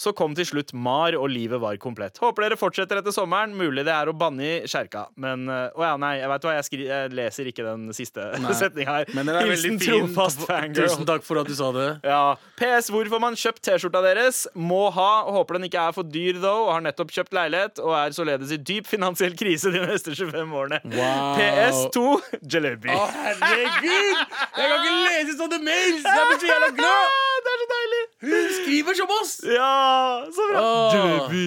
S5: Så kom til slutt Mar, og livet var komplett. Håper dere fortsetter etter sommeren. Mulig det er å banne i kjerka. Men eh, Å ja, nei, jeg vet hva, jeg, skri jeg leser ikke den siste (laughs) setninga her.
S6: Men den er
S5: Hilsen
S6: veldig fin.
S5: trofast fangirl.
S6: Tusen takk for at du sa det.
S5: Ja. PS, hvor får man kjøpt T-skjorta deres? Må ha. Håper den ikke er for dyr, though. Har nettopp kjøpt leilighet og er således i dyp finansiell krise de neste 25 årene.
S6: Wow.
S5: PS2 Jalebi.
S6: Å, herregud! Jeg kan ikke lese sånne (laughs) mails! Jeg blir så jævla glad!
S5: det er så deilig!
S6: Hun skriver som oss!
S5: Ja, så bra.
S6: Åh.
S5: Jalebi.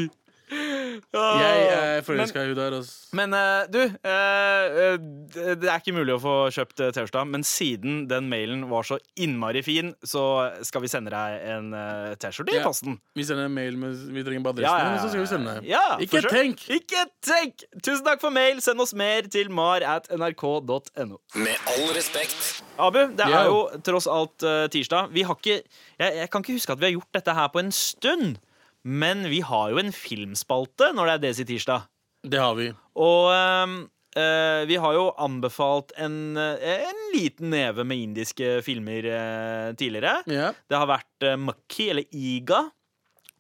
S5: Åh.
S6: Jeg eh, er forelska i henne der. ass.
S5: Men eh, du, eh, eh, det det er ikke mulig å få kjøpt eh, T-skjorta, men siden den mailen var så innmari fin, så skal vi sende deg en eh, T-skjorte i
S6: Ja.
S5: posten.
S6: Vi sender en mail med vi trenger bare adressen, men så skal vi sende den.
S5: Ja,
S6: ikke
S5: for sure.
S6: tenk!
S5: Ikke tenk! Tusen takk for mail. Send oss mer til mar at nrk.no.
S1: Med all respekt.
S5: Abu, det
S6: Ja.
S5: er jo tross alt eh, tirsdag. Vi har ikke, jeg, jeg kan ikke huske at vi har gjort dette her på en stund. Men vi har jo en filmspalte når det er Desi tirsdag.
S6: Det har vi.
S5: Og ehm, eh, vi har jo anbefalt en, eh, en liten neve med indiske filmer eh, tidligere.
S6: Ja.
S5: Det har vært uh, Mucky, eller Iga,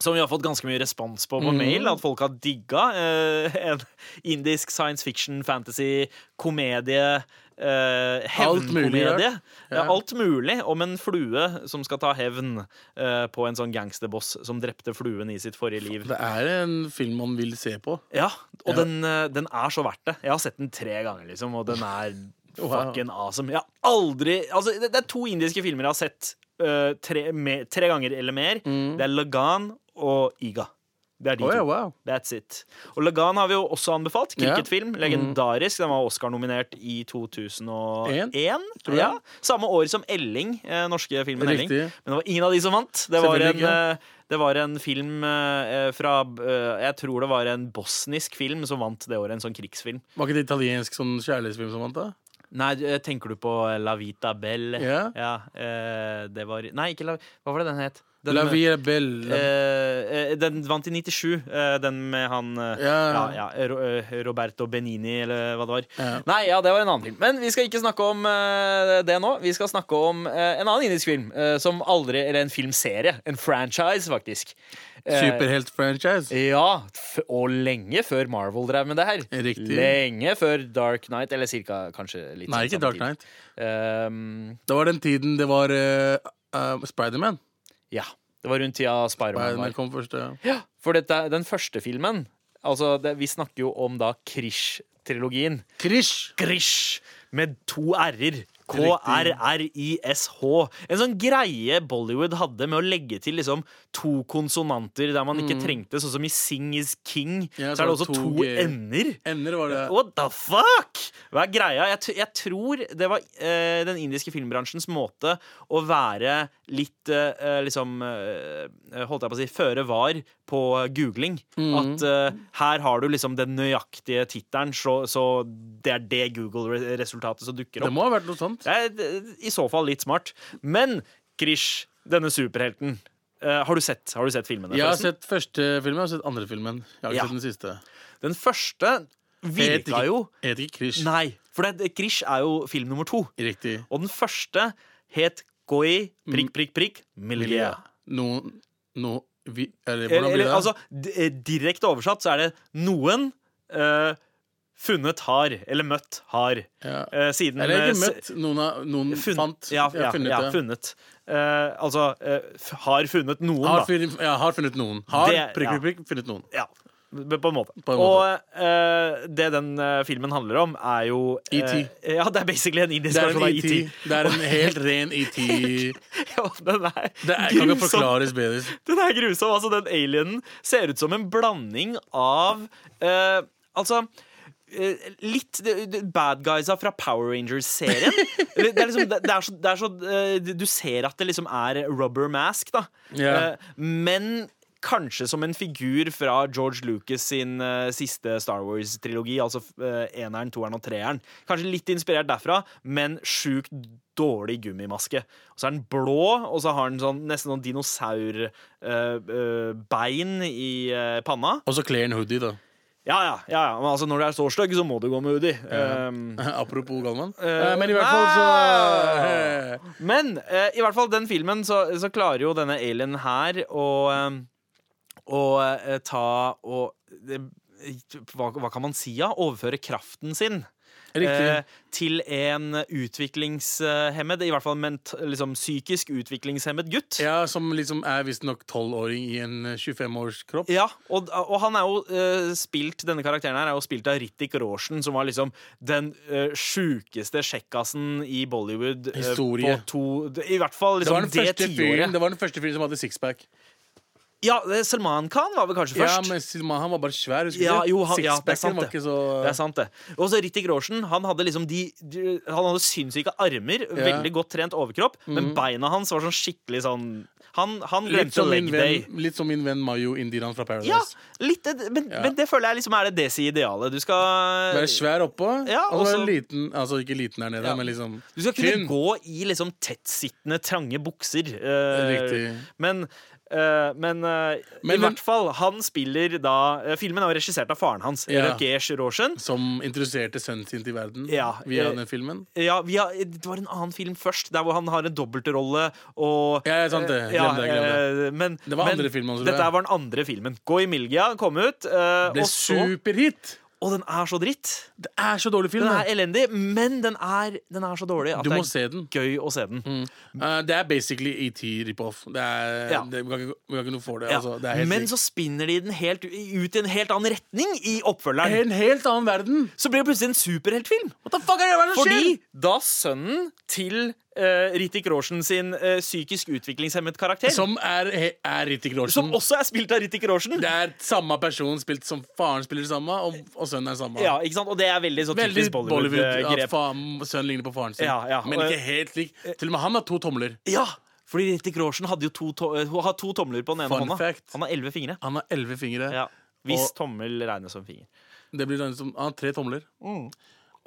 S5: som vi har fått ganske mye respons på på
S6: Mhm.
S5: mail. At folk har digga. eh, (laughs) en indisk science fiction, fantasy, komedie. eh,
S6: Alt mulig
S5: Hevnkomedie.
S6: rart.
S5: Ja.
S6: Ja.
S5: Alt mulig om en flue som skal ta hevn eh, på en sånn gangsterboss som drepte fluen i sitt forrige liv.
S6: Det er en film man vil se på.
S5: Ja, og
S6: Ja.
S5: Den, eh, den er så verdt det. Jeg har sett den tre ganger, liksom, og den er
S6: (laughs) Wow.
S5: fucking awesome. Jeg har aldri Altså, det, det er to indiske filmer jeg har sett eh, tre, me, tre ganger eller mer. Det er Lagan og Iga. Det er de
S6: Mm. Å,
S5: to.
S6: ja, wow.
S5: That's it. Og Lagan har vi jo også anbefalt.
S6: Ja. Mm.
S5: Cricketfilm. Legendarisk. Den var Oscar-nominert i 2001.
S6: tror jeg.
S5: ja. Samme år som Elling. Eh, norske filmen
S6: Riktig.
S5: Elling. Men det var ingen av de som vant. Det var
S6: Selvfølgelig
S5: en,
S6: ikke.
S5: eh, det var en film eh, fra eh, Jeg tror det var en bosnisk film som vant det året. En sånn krigsfilm.
S6: Var ikke det italiensk sånn kjærlighetsfilm som vant, da?
S5: Nei, eh, tenker du på La Vita Bell?
S6: Ja.
S5: eh, det var Nei, ikke La Hva var det den het? Den,
S6: La Via Bella.
S5: eh, eh, den vant i 97, eh, den med han eh, ja,
S6: Ja.
S5: ja, Ro eh, Roberto Benini, eller hva det var.
S6: Ja.
S5: Nei, ja, det var en annen film. Men vi skal ikke snakke om eh, det nå. Vi skal snakke om eh, en annen indisk film, eh, som aldri Eller en filmserie. En franchise, faktisk. Eh,
S6: Superhelt-franchise.
S5: ja, f og lenge før Marvel drev med det her.
S6: Riktig.
S5: Lenge før Dark Knight, eller cirka kanskje litt
S6: Nei, ikke
S5: samme
S6: Dark
S5: tid.
S6: Knight.
S5: Ehm,
S6: Det var den tiden det var eh, eh, Spiderman.
S5: ja. Det var rundt tida Spiderman var.
S6: Spiderman kom først. ja.
S5: Ja, for dette, er- den første filmen Altså, det, vi snakker jo om da Krish-trilogien.
S6: Krish!
S5: Krish! Med to r-er. K-r-r-i-s-h. En sånn greie Bollywood hadde med å legge til liksom to konsonanter der man ikke trengte, sånn som i Sing is King.
S6: Mm. Ja,
S5: så er det også to,
S6: G.
S5: n-er.
S6: Ender var det.
S5: What the fuck?! Hva er greia? Jeg, t jeg tror det var eh, den indiske filmbransjens måte å være litt eh, liksom eh, Holdt jeg på å si føre var på googling.
S6: Mm.
S5: At eh, her har du liksom den nøyaktige tittelen, så, så det er det Google-resultatet som dukker
S6: Det
S5: opp.
S6: må ha vært noe sånt.
S5: Det er d- i så fall litt smart. Men Krish, denne superhelten, eh, har du sett, har du sett filmene?
S6: Jeg har
S5: forresten?
S6: sett første filmen og sett andre filmen. Jeg har ikke
S5: Ja.
S6: sett den siste.
S5: Den første
S6: Jeg heter
S5: virka
S6: ikke-
S5: jo
S6: Jeg heter ikke Krish.
S5: Nei, for det, Krish er jo film nummer to.
S6: Riktig.
S5: Og den første het Goi prikk, prikk, prikk Milgia.
S6: Noen no, vi,
S5: Eller,
S6: Eller hvordan blir det?
S5: eller altså, d- eh, direkte oversatt så er det noen eh, funnet har, eller møtt har.
S6: Ja.
S5: Eh, siden
S6: Eller
S5: eh,
S6: ikke møtt. Noen, har- noen
S5: s- funn-
S6: fant.
S5: Ja,
S6: Jeg
S5: ja,
S6: har funnet
S5: ja,
S6: det.
S5: funnet. Eh, altså eh, f- har funnet noen,
S6: Har,
S5: da.
S6: funnet, ja, har funnet noen. Har
S5: Det-
S6: prikk,
S5: ja.
S6: prikk, prikk, funnet noen.
S5: Ja. B- På en måte.
S6: På en
S5: Og eh, det den eh, filmen handler om, er jo eh,
S6: E.T..
S5: ja, det er basically en indisk
S6: E Det er
S5: versjon
S6: som
S5: av E
S6: ET.
S5: ET.
S6: Det er en helt
S5: (laughs)
S6: ren ET. Det
S5: Ja, den er,
S6: er, kan ikke
S5: grusom.
S6: forklares bedre.
S5: Den er grusom. Altså, den alienen ser ut som en blanding av eh, Altså eh, Litt det- det- bad guysa fra Power Rangers-serien. Det, det er liksom, det, det er så, det er så eh, Du ser at det liksom er rubber mask, da.
S6: Ja.
S5: Eh, Men kanskje som en figur fra George Lucas sin eh, siste Star Wars-trilogi. Altså eh, eneren, toeren og treeren. Kanskje litt inspirert derfra, men sjukt dårlig gummimaske. Og så er den blå, og så har den sånn, nesten sånn dinosaurbein i eh, panna.
S6: Og så kler han hoodie, da. (laughs)
S5: Ja, ja, ja, ja. Men altså, når du er så stygg, så må du gå med hoodie. Um,
S6: Apropos Galvan.
S5: Eh, ah!
S6: Eh, men i hvert fall så
S5: nei.
S6: eh,
S5: Men eh, i hvert fall den filmen så, så klarer jo denne alien her å eh, Å eh, ta og det, hva, hva kan man si, da? Overføre kraften sin.
S6: Riktig.
S5: eh, til en utviklingshemmed, i hvert fall ment, liksom, psykisk utviklingshemmet gutt.
S6: Ja, som liksom er visstnok 12-åring i en eh, 25-års kropp.
S5: Ja, og, og han er jo eh, spilt Denne karakteren her er jo spilt av Rittik Roshen, som var liksom den uh, sjukeste sjekkasen i Bollywood. eh,
S6: Historie.
S5: på to, I hvert fall
S6: Det var,
S5: liksom
S6: den
S5: det,
S6: første fyren,
S5: tiåret.
S6: det var den første fyren som hadde sixpack.
S5: Ja, eh, Salman Khan var vel kanskje
S6: Ja,
S5: først.
S6: men Silman, han var bare svær. husker du
S5: Ja,
S6: det?
S5: jo, han- ja, det er
S6: Sixpacken
S5: sant, det.
S6: var ikke så
S5: Det er sant, det. Og så Rittik Roshen. Han hadde liksom de, de Han hadde sinnssyke armer, veldig godt trent overkropp, men beina hans var sånn skikkelig sånn Han, han
S6: Mhm. Litt
S5: glemte
S6: som, min
S5: leg day.
S6: venn, litt som min venn Mayo Indiran fra Paradise.
S5: Ja, litt, men, men det føler jeg liksom er det desi idealet. Du skal
S6: Være svær oppå,
S5: Ja,
S6: og så
S5: også-
S6: være liten. Altså ikke liten her nede,
S5: Ja.
S6: men liksom
S5: Du skal kunne
S6: tynn.
S5: gå i liksom tettsittende, trange bukser. eh,
S6: Riktig.
S5: Men, eh, men, eh, i
S6: Men den-
S5: hvert fall, han spiller da eh, Filmen er jo regissert av faren hans,
S6: Ja.
S5: Rakesh Roshan.
S6: Som introduserte sønnen sin til verden
S5: Ja,
S6: via
S5: eh,
S6: den filmen.
S5: Ja, vi har, det var en annen film først, der hvor han har en dobbeltrolle og
S6: Ja, ja, sant det.
S5: Ja,
S6: Glem det. glem det
S5: eh, Men,
S6: Det var
S5: men
S6: andre filmen hans, tror jeg.
S5: Dette her var den andre filmen. Gå i Milgia kom ut. eh,
S6: Ble
S5: og, så,
S6: superhit!
S5: og den er så dritt.
S6: Det er så dårlig film.
S5: Den
S6: da.
S5: er elendig, men den er, den er så dårlig at
S6: Du
S5: det
S6: må
S5: er
S6: se den.
S5: gøy å se den.
S6: Eh, det er basically ET rip-off. Det er,
S5: Ja.
S6: det, vi, kan ikke, vi kan ikke noe for det.
S5: Ja.
S6: Altså, det er helt
S5: Men
S6: sykt.
S5: så spinner de den helt u- ut i en helt annen retning i oppfølgeren.
S6: en helt annen verden!
S5: Så blir det plutselig en superheltfilm.
S6: What the fuck er det hva er det som
S5: Fordi
S6: skjer?
S5: da sønnen til uh, Ritik Roshen sin eh, psykisk utviklingshemmet karakter, som,
S6: Som er, he- er Rittik Roshan.
S5: også er spilt av Ritik Roshen
S6: Det er samme person spilt som faren spiller samme, og, og sønnen er samme.
S5: ja, ikke sant? Og det er veldig så
S6: Veldig
S5: typisk eh,
S6: Bollywood. At
S5: Bollywood-grep.
S6: faen, sønnen ligner på faren sin.
S5: Ja, ja.
S6: Men
S5: Og- Eh,
S6: ikke helt lik. Til og med han har to tomler.
S5: Ja, fordi Ritik Roshen hadde jo to, to, eh, hun har to tomler på den ene
S6: Fun
S5: hånda.
S6: fact.
S5: Han har elleve fingre.
S6: Han har elleve fingre.
S5: Ja. Hvis
S6: Og-
S5: tommel regnes som finger.
S6: Det blir sånn som, han har tre tomler.
S5: Mm.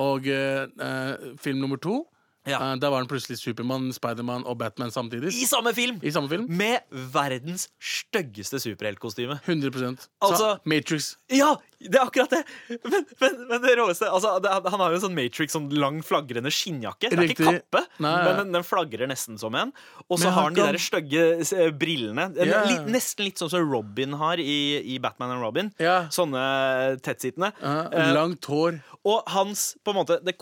S6: Og eh, eh, film nummer to
S5: Ja.
S6: eh, Der var han plutselig Supermann, Spiderman og Batman samtidig.
S5: I samme film!
S6: I samme film.
S5: Med verdens styggeste superheltkostyme.
S6: 100
S5: Altså-
S6: Så, Matrix.
S5: Ja, det er akkurat det! Men, men, men det råeste altså, det, Han har jo en sånn Matrix, sånn lang flagrende skinnjakke. Det er ikke
S6: Riktig.
S5: kappe,
S6: Nei.
S5: men den, den flagrer nesten som en. Og så
S6: Men
S5: har
S6: han
S5: han de
S6: kan-
S5: der stygge eh, brillene. En-
S6: Ja.
S5: litt- nesten litt sånn som Robin har i, i Batman and Robin.
S6: Ja.
S5: Sånne tettsittende.
S6: Ja,
S5: Eh,
S6: langt hår.
S5: og hans, på en måte, det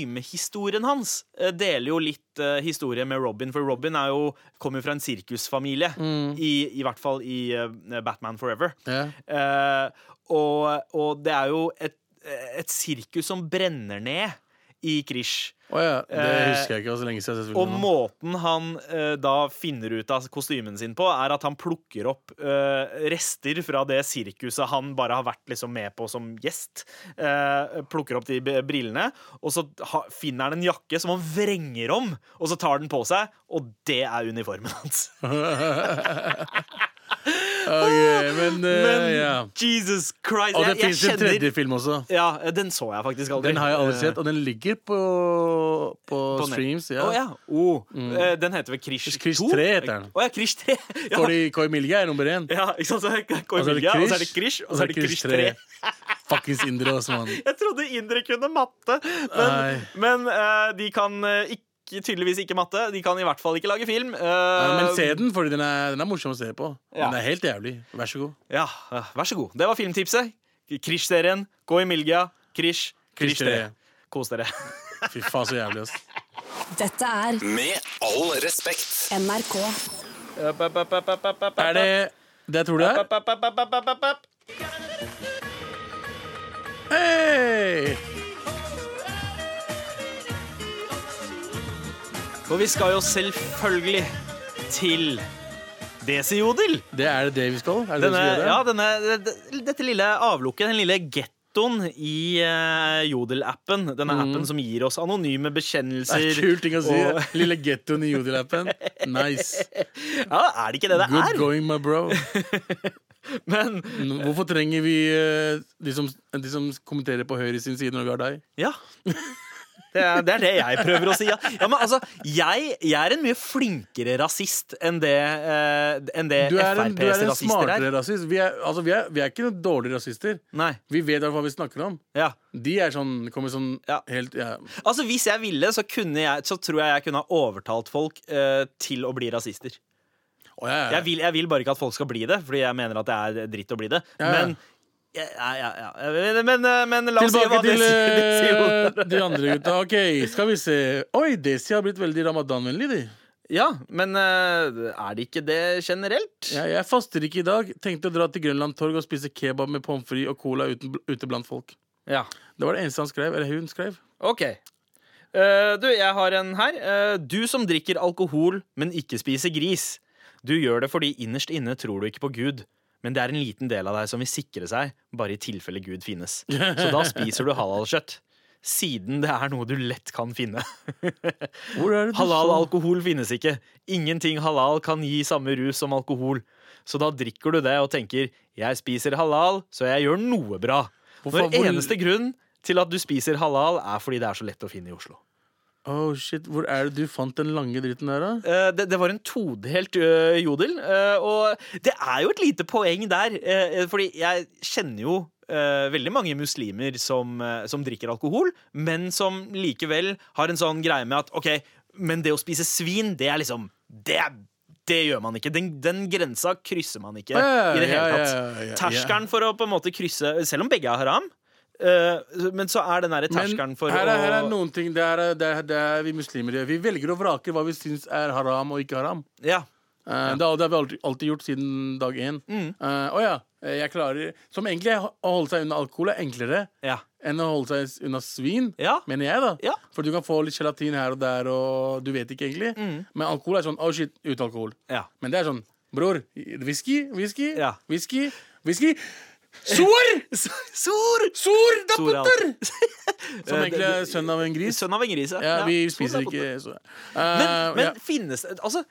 S5: kostymehistorien hans eh, deler jo litt eh, historie med Robin, for Robin er jo, kommer jo fra en sirkusfamilie, i, i hvert fall i eh, Batman Forever.
S6: Mm. Ja.
S5: Eh, og, og det er jo et, et sirkus som brenner ned i Krish.
S6: Å ja, det
S5: Eh,
S6: husker jeg ikke. Det var så lenge siden jeg har sett
S5: Og
S6: filmen. nå.
S5: måten han eh, da finner ut av kostymen sin på, er at han plukker opp eh, rester fra det sirkuset han bare har vært liksom med på som gjest. Eh, plukker opp de b- brillene, og så ha, finner han en jakke som han vrenger om, og så tar den på seg, og det er uniformen hans.
S6: Ok, men, eh,
S5: Men
S6: (laughs) ja.
S5: Jesus Christ!
S6: Og det
S5: Jeg, jeg
S6: fins en
S5: kjenner
S6: tredje film også.
S5: Ja, eh, den så jeg faktisk aldri.
S6: Den har jeg aldri
S5: Eh,
S6: sett, og den ligger på, på,
S5: på nett.
S6: streams. Ja.
S5: Å, ja. Oh, eh, Den heter vel Krish 2?
S6: Krish 3 heter den.
S5: Å ja, Krish 3. Ja.
S6: Fordi Koi Milja er nummer én.
S5: Ja, ikke sant? Så er det Cornelia, og så er det Krish, og så er det Krish 3.
S6: Fuckings indre også,
S5: (laughs)
S6: mann.
S5: Jeg trodde indere kunne matte, men,
S6: Nei.
S5: men eh, de kan eh, ikke, tydeligvis ikke matte. De kan i hvert fall ikke lage film. eh,
S6: Ja, men se den, fordi den er, den er morsom å se på.
S5: Ja.
S6: Den er helt jævlig. Vær så god.
S5: Ja, eh, vær så god. Det var filmtipset. Krish-serien. Gå i Milgia. Krish.
S6: Krish
S5: Krish 3.
S6: 3.
S5: Kos dere.
S6: Fy faen, så
S5: (laughs)
S6: jævlig, ass.
S3: Dette er
S1: Med all respekt.
S3: NRK.
S6: Er det det jeg tror det er?
S5: Papp, papp, papp, papp, papp, papp.
S6: Hey!
S5: For vi skal jo selvfølgelig til Desiodel.
S6: Det er det det vi skal? Er det
S5: Denne,
S6: det vi skal
S5: ja,
S6: gjøre?
S5: denne, d- dette lille avlukket, den lille gettoen i eh, Jodel-appen. Denne appen som gir oss anonyme
S6: Mm. det
S5: bekjennelser.
S6: er kult ting å si.
S5: og-
S6: (laughs) Lille gettoen i Jodel-appen.
S5: (laughs)
S6: Nice.
S5: Ja, er det ikke det det
S6: Good
S5: er?
S6: going, my
S5: (laughs)
S6: bro.
S5: Men
S6: N- Hvorfor trenger vi eh, de som, de som kommenterer på høyre sin side når vi har deg?
S5: ja. Det er, det er det jeg prøver å si. Ja, ja men altså, jeg, jeg er en mye flinkere rasist enn det, eh, enn det
S6: Du er en, du er
S5: FrPs
S6: en
S5: rasister
S6: smartere
S5: er.
S6: rasist. Vi er, altså, vi, er, vi er ikke noen dårlige rasister.
S5: Nei,
S6: Vi vet hva vi snakker om.
S5: ja.
S6: De er sånn, kommer sånn
S5: Ja.
S6: helt ja.
S5: Altså, Hvis jeg ville, så, kunne jeg, så tror jeg jeg kunne ha overtalt folk eh, til å bli rasister.
S6: Å, ja, ja.
S5: Jeg vil, jeg vil bare ikke at folk skal bli det, fordi jeg mener at det er dritt å bli det.
S6: Ja, ja.
S5: Men ja, ja, ja. Men, men, eh, men la oss se
S6: Tilbake
S5: hva
S6: til
S5: det sier. Det sier jo-
S6: eh, de andre gutta. Ok, skal vi se. Oi, Desi har blitt veldig ramadanvennlig, de.
S5: (laughs) Ja, men eh, er det ikke det generelt?
S6: Ja, jeg faster ikke i dag. Tenkte å dra til Grønland torg og spise kebab med pommes frites og cola uten, ute blant folk.
S5: Ja.
S6: Det var det eneste han skrev. Eller hun skrev.
S5: OK. Eh, du, jeg har en her. Eh, du som drikker alkohol, men ikke spiser gris. Du gjør det fordi innerst inne tror du ikke på Gud, men det er en liten del av deg som vil sikre seg, bare i tilfelle Gud finnes. Så da spiser du halalkjøtt. Siden det er noe du lett kan
S6: (laughs)
S5: finne.
S6: Hvor er det du
S5: Halal
S6: så-
S5: alkohol finnes ikke. Ingenting halal kan gi samme rus som alkohol. Så da drikker du det og tenker 'jeg spiser halal, så jeg gjør noe bra'.
S6: Hvorfor-
S5: Når
S6: hvor-
S5: eneste grunn til at du spiser halal, er fordi det er så lett å finne i Oslo.
S6: Oh shit, Hvor er det du fant den lange dritten der, da?
S5: Eh, det, det var en todelt eh, jodel, eh, og det er jo et lite poeng der. eh, eh, fordi jeg kjenner jo eh, veldig mange muslimer som, eh, som drikker alkohol, men som likevel har en sånn greie med at ok, men det å spise svin, det er liksom Det, er, det gjør man ikke. Den, den grensa krysser man ikke
S6: Ja,
S5: i det hele
S6: ja,
S5: tatt.
S6: ja, ja, ja.
S5: Terskelen for å på en måte krysse Selv om begge er haram, eh, men så er den derre terskelen for
S6: her, er,
S5: å
S6: her er noen ting det er, det, er, det er vi muslimer gjør. Vi velger og vraker hva vi syns er haram og ikke haram.
S5: ja.
S6: Eh, det, har- det har vi alltid, alltid gjort siden dag én.
S5: Mm.
S6: Eh, å ja, eh, jeg klarer Som egentlig er å holde seg unna alkohol er enklere
S5: Ja.
S6: enn å holde seg s- unna svin,
S5: Ja.
S6: mener jeg, da.
S5: Ja.
S6: For du kan få litt gelatin her og der, og du vet ikke egentlig. Men alkohol er sånn oh shit, uten alkohol.
S5: Mm. Ja.
S6: Men det er sånn Bror, whisky, whisky,
S5: Ja.
S6: whisky, whisky. Sor!
S5: (laughs) Sor!
S6: Sor, da
S5: Sor er alt. (laughs)
S6: putter! Som
S5: Eh,
S6: egentlig
S5: det-
S6: er sønn av en gris.
S5: Sønn av en gris,
S6: Ja, vi spiser
S5: Sånn er det.
S6: ikke så.
S5: Men,
S6: Eh,
S5: men
S6: ja.
S5: finnes det Altså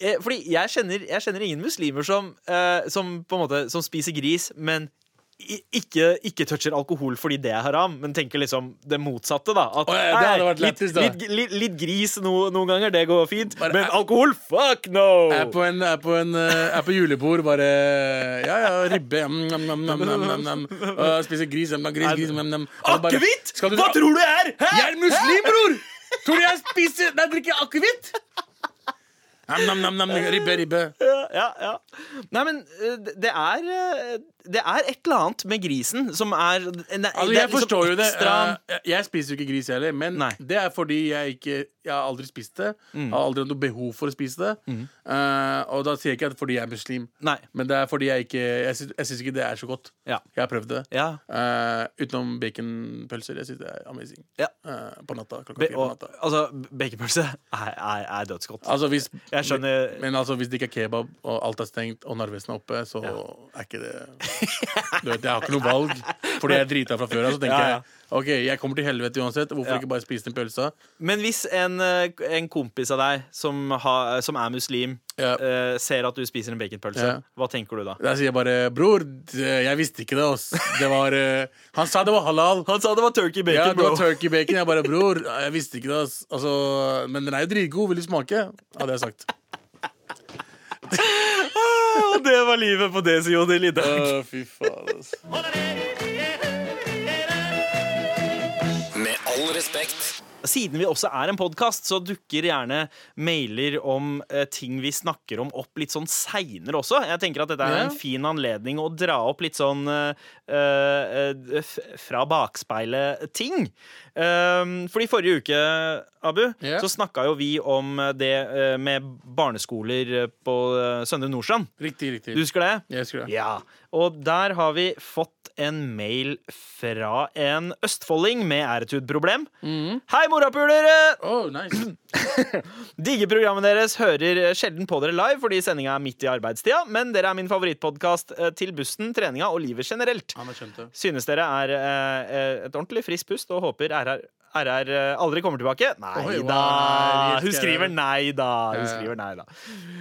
S5: eh, fordi jeg kjenner, jeg kjenner ingen muslimer som, eh, som på en måte Som spiser gris, men i- ikke, ikke toucher alkohol fordi det er haram, men tenker liksom det motsatte, da. At
S6: Å ja, det hadde
S5: nei,
S6: vært lettest, da.
S5: litt, litt, litt, litt gris no, noen ganger, det går fint,
S6: Bare-
S5: men alkohol, fuck no!
S6: Er på, en, er, på en, eh, er på julebord, bare Ja, ja, ribbe. mm, Nam, nam, nam, nam, nam, nam. Og spiser gris. nam, nam, gris, gris nam, nam. Og bare-
S5: Akevitt!
S6: Skal du-
S5: Hva tror du er? Hæ?
S6: Jeg er muslim, bror! Tror du jeg spiser Nei,
S5: (laughs)
S6: drikker akevitt? Nam, nam, nam, nam, ribbe, ribbe.
S5: Ja, ja, ja. Nei, men eh, det- det er eh, Det er et eller annet med grisen som er liksom
S6: Altså, jeg forstår jo det. Eh, Jeg spiser jo ikke gris heller, men
S5: Nei. Mm.
S6: det er fordi jeg ikke Jeg har aldri spist det. Har aldri hatt noe behov for å spise det. Eh, og da sier jeg ikke at fordi jeg er muslim,
S5: Nei.
S6: men det er fordi jeg ikke Jeg syns- jeg syns ikke det er så godt.
S5: Ja.
S6: Jeg har prøvd det.
S5: Ja.
S6: Eh, utenom baconpølser. Jeg syns det er amazing.
S5: Ja.
S6: Eh, på natta. Klokka
S5: Be
S6: fire på
S5: og,
S6: natta.
S5: altså, baconpølse er, er, er dødsgodt.
S6: Altså hvis,
S5: Jeg skjønner-
S6: Men altså, hvis det ikke er kebab, og alt er stengt, og Narvesen er oppe, så er ikke det Du vet, Jeg har ikke noe valg, fordi jeg er drita fra før av. Så tenker
S5: Ja, ja.
S6: jeg OK, jeg kommer til helvete uansett. Hvorfor
S5: Ja.
S6: ikke bare spise den pølsa?
S5: Men hvis en, eh, en kompis av deg som, har- som er muslim,
S6: Ja.
S5: eh, ser at du spiser en baconpølse,
S6: Ja.
S5: hva tenker du da?
S6: Der sier jeg bare Bror, d- jeg visste ikke det, ass. Det var eh, Han sa det var halal.
S5: Han sa det var turkey bacon,
S6: Ja, det
S5: bro.
S6: var turkey bacon. Jeg bare Bror, jeg visste ikke det, ass. Altså, men den er jo dritgod. Vil du smake? Hadde
S5: (laughs)
S6: jeg sagt.
S5: Ah, (laughs) det var livet på Desi Jodel i dag.
S6: Å, fy faen, ass.
S1: Med all respekt.
S5: Siden vi også er en podkast, så dukker gjerne mailer om eh, ting vi snakker om, opp litt sånn seinere også. Jeg tenker at dette er
S6: Ja.
S5: en fin anledning å dra opp litt sånn eh, eh, eh, f- fra bakspeilet-ting. Um, fordi forrige uke, Abu,
S6: Ja.
S5: så snakka jo vi om det eh, med barneskoler eh, på eh, Søndre Nordstrand.
S6: Riktig, riktig.
S5: Du husker det?
S6: Jeg husker det.
S5: (laughs) Ja, og der har vi fått en mail fra en østfolding med æretud-problem. Hei, morapulere!
S6: Oh, nice.
S5: Digger programmet deres, hører sjelden på dere live fordi sendinga er midt i arbeidstida, men dere er min favorittpodkast til bussen, treninga og livet generelt.
S6: Han har skjønt det.
S5: Synes dere er eh, et ordentlig friskt pust og håper RR, RR eh, aldri kommer tilbake? Nei
S6: Oi, wow,
S5: da!
S6: nei, vi
S5: Hun
S6: elsker
S5: skriver
S6: det.
S5: nei da.
S6: Ja,
S5: Hun
S6: ja.
S5: skriver nei da.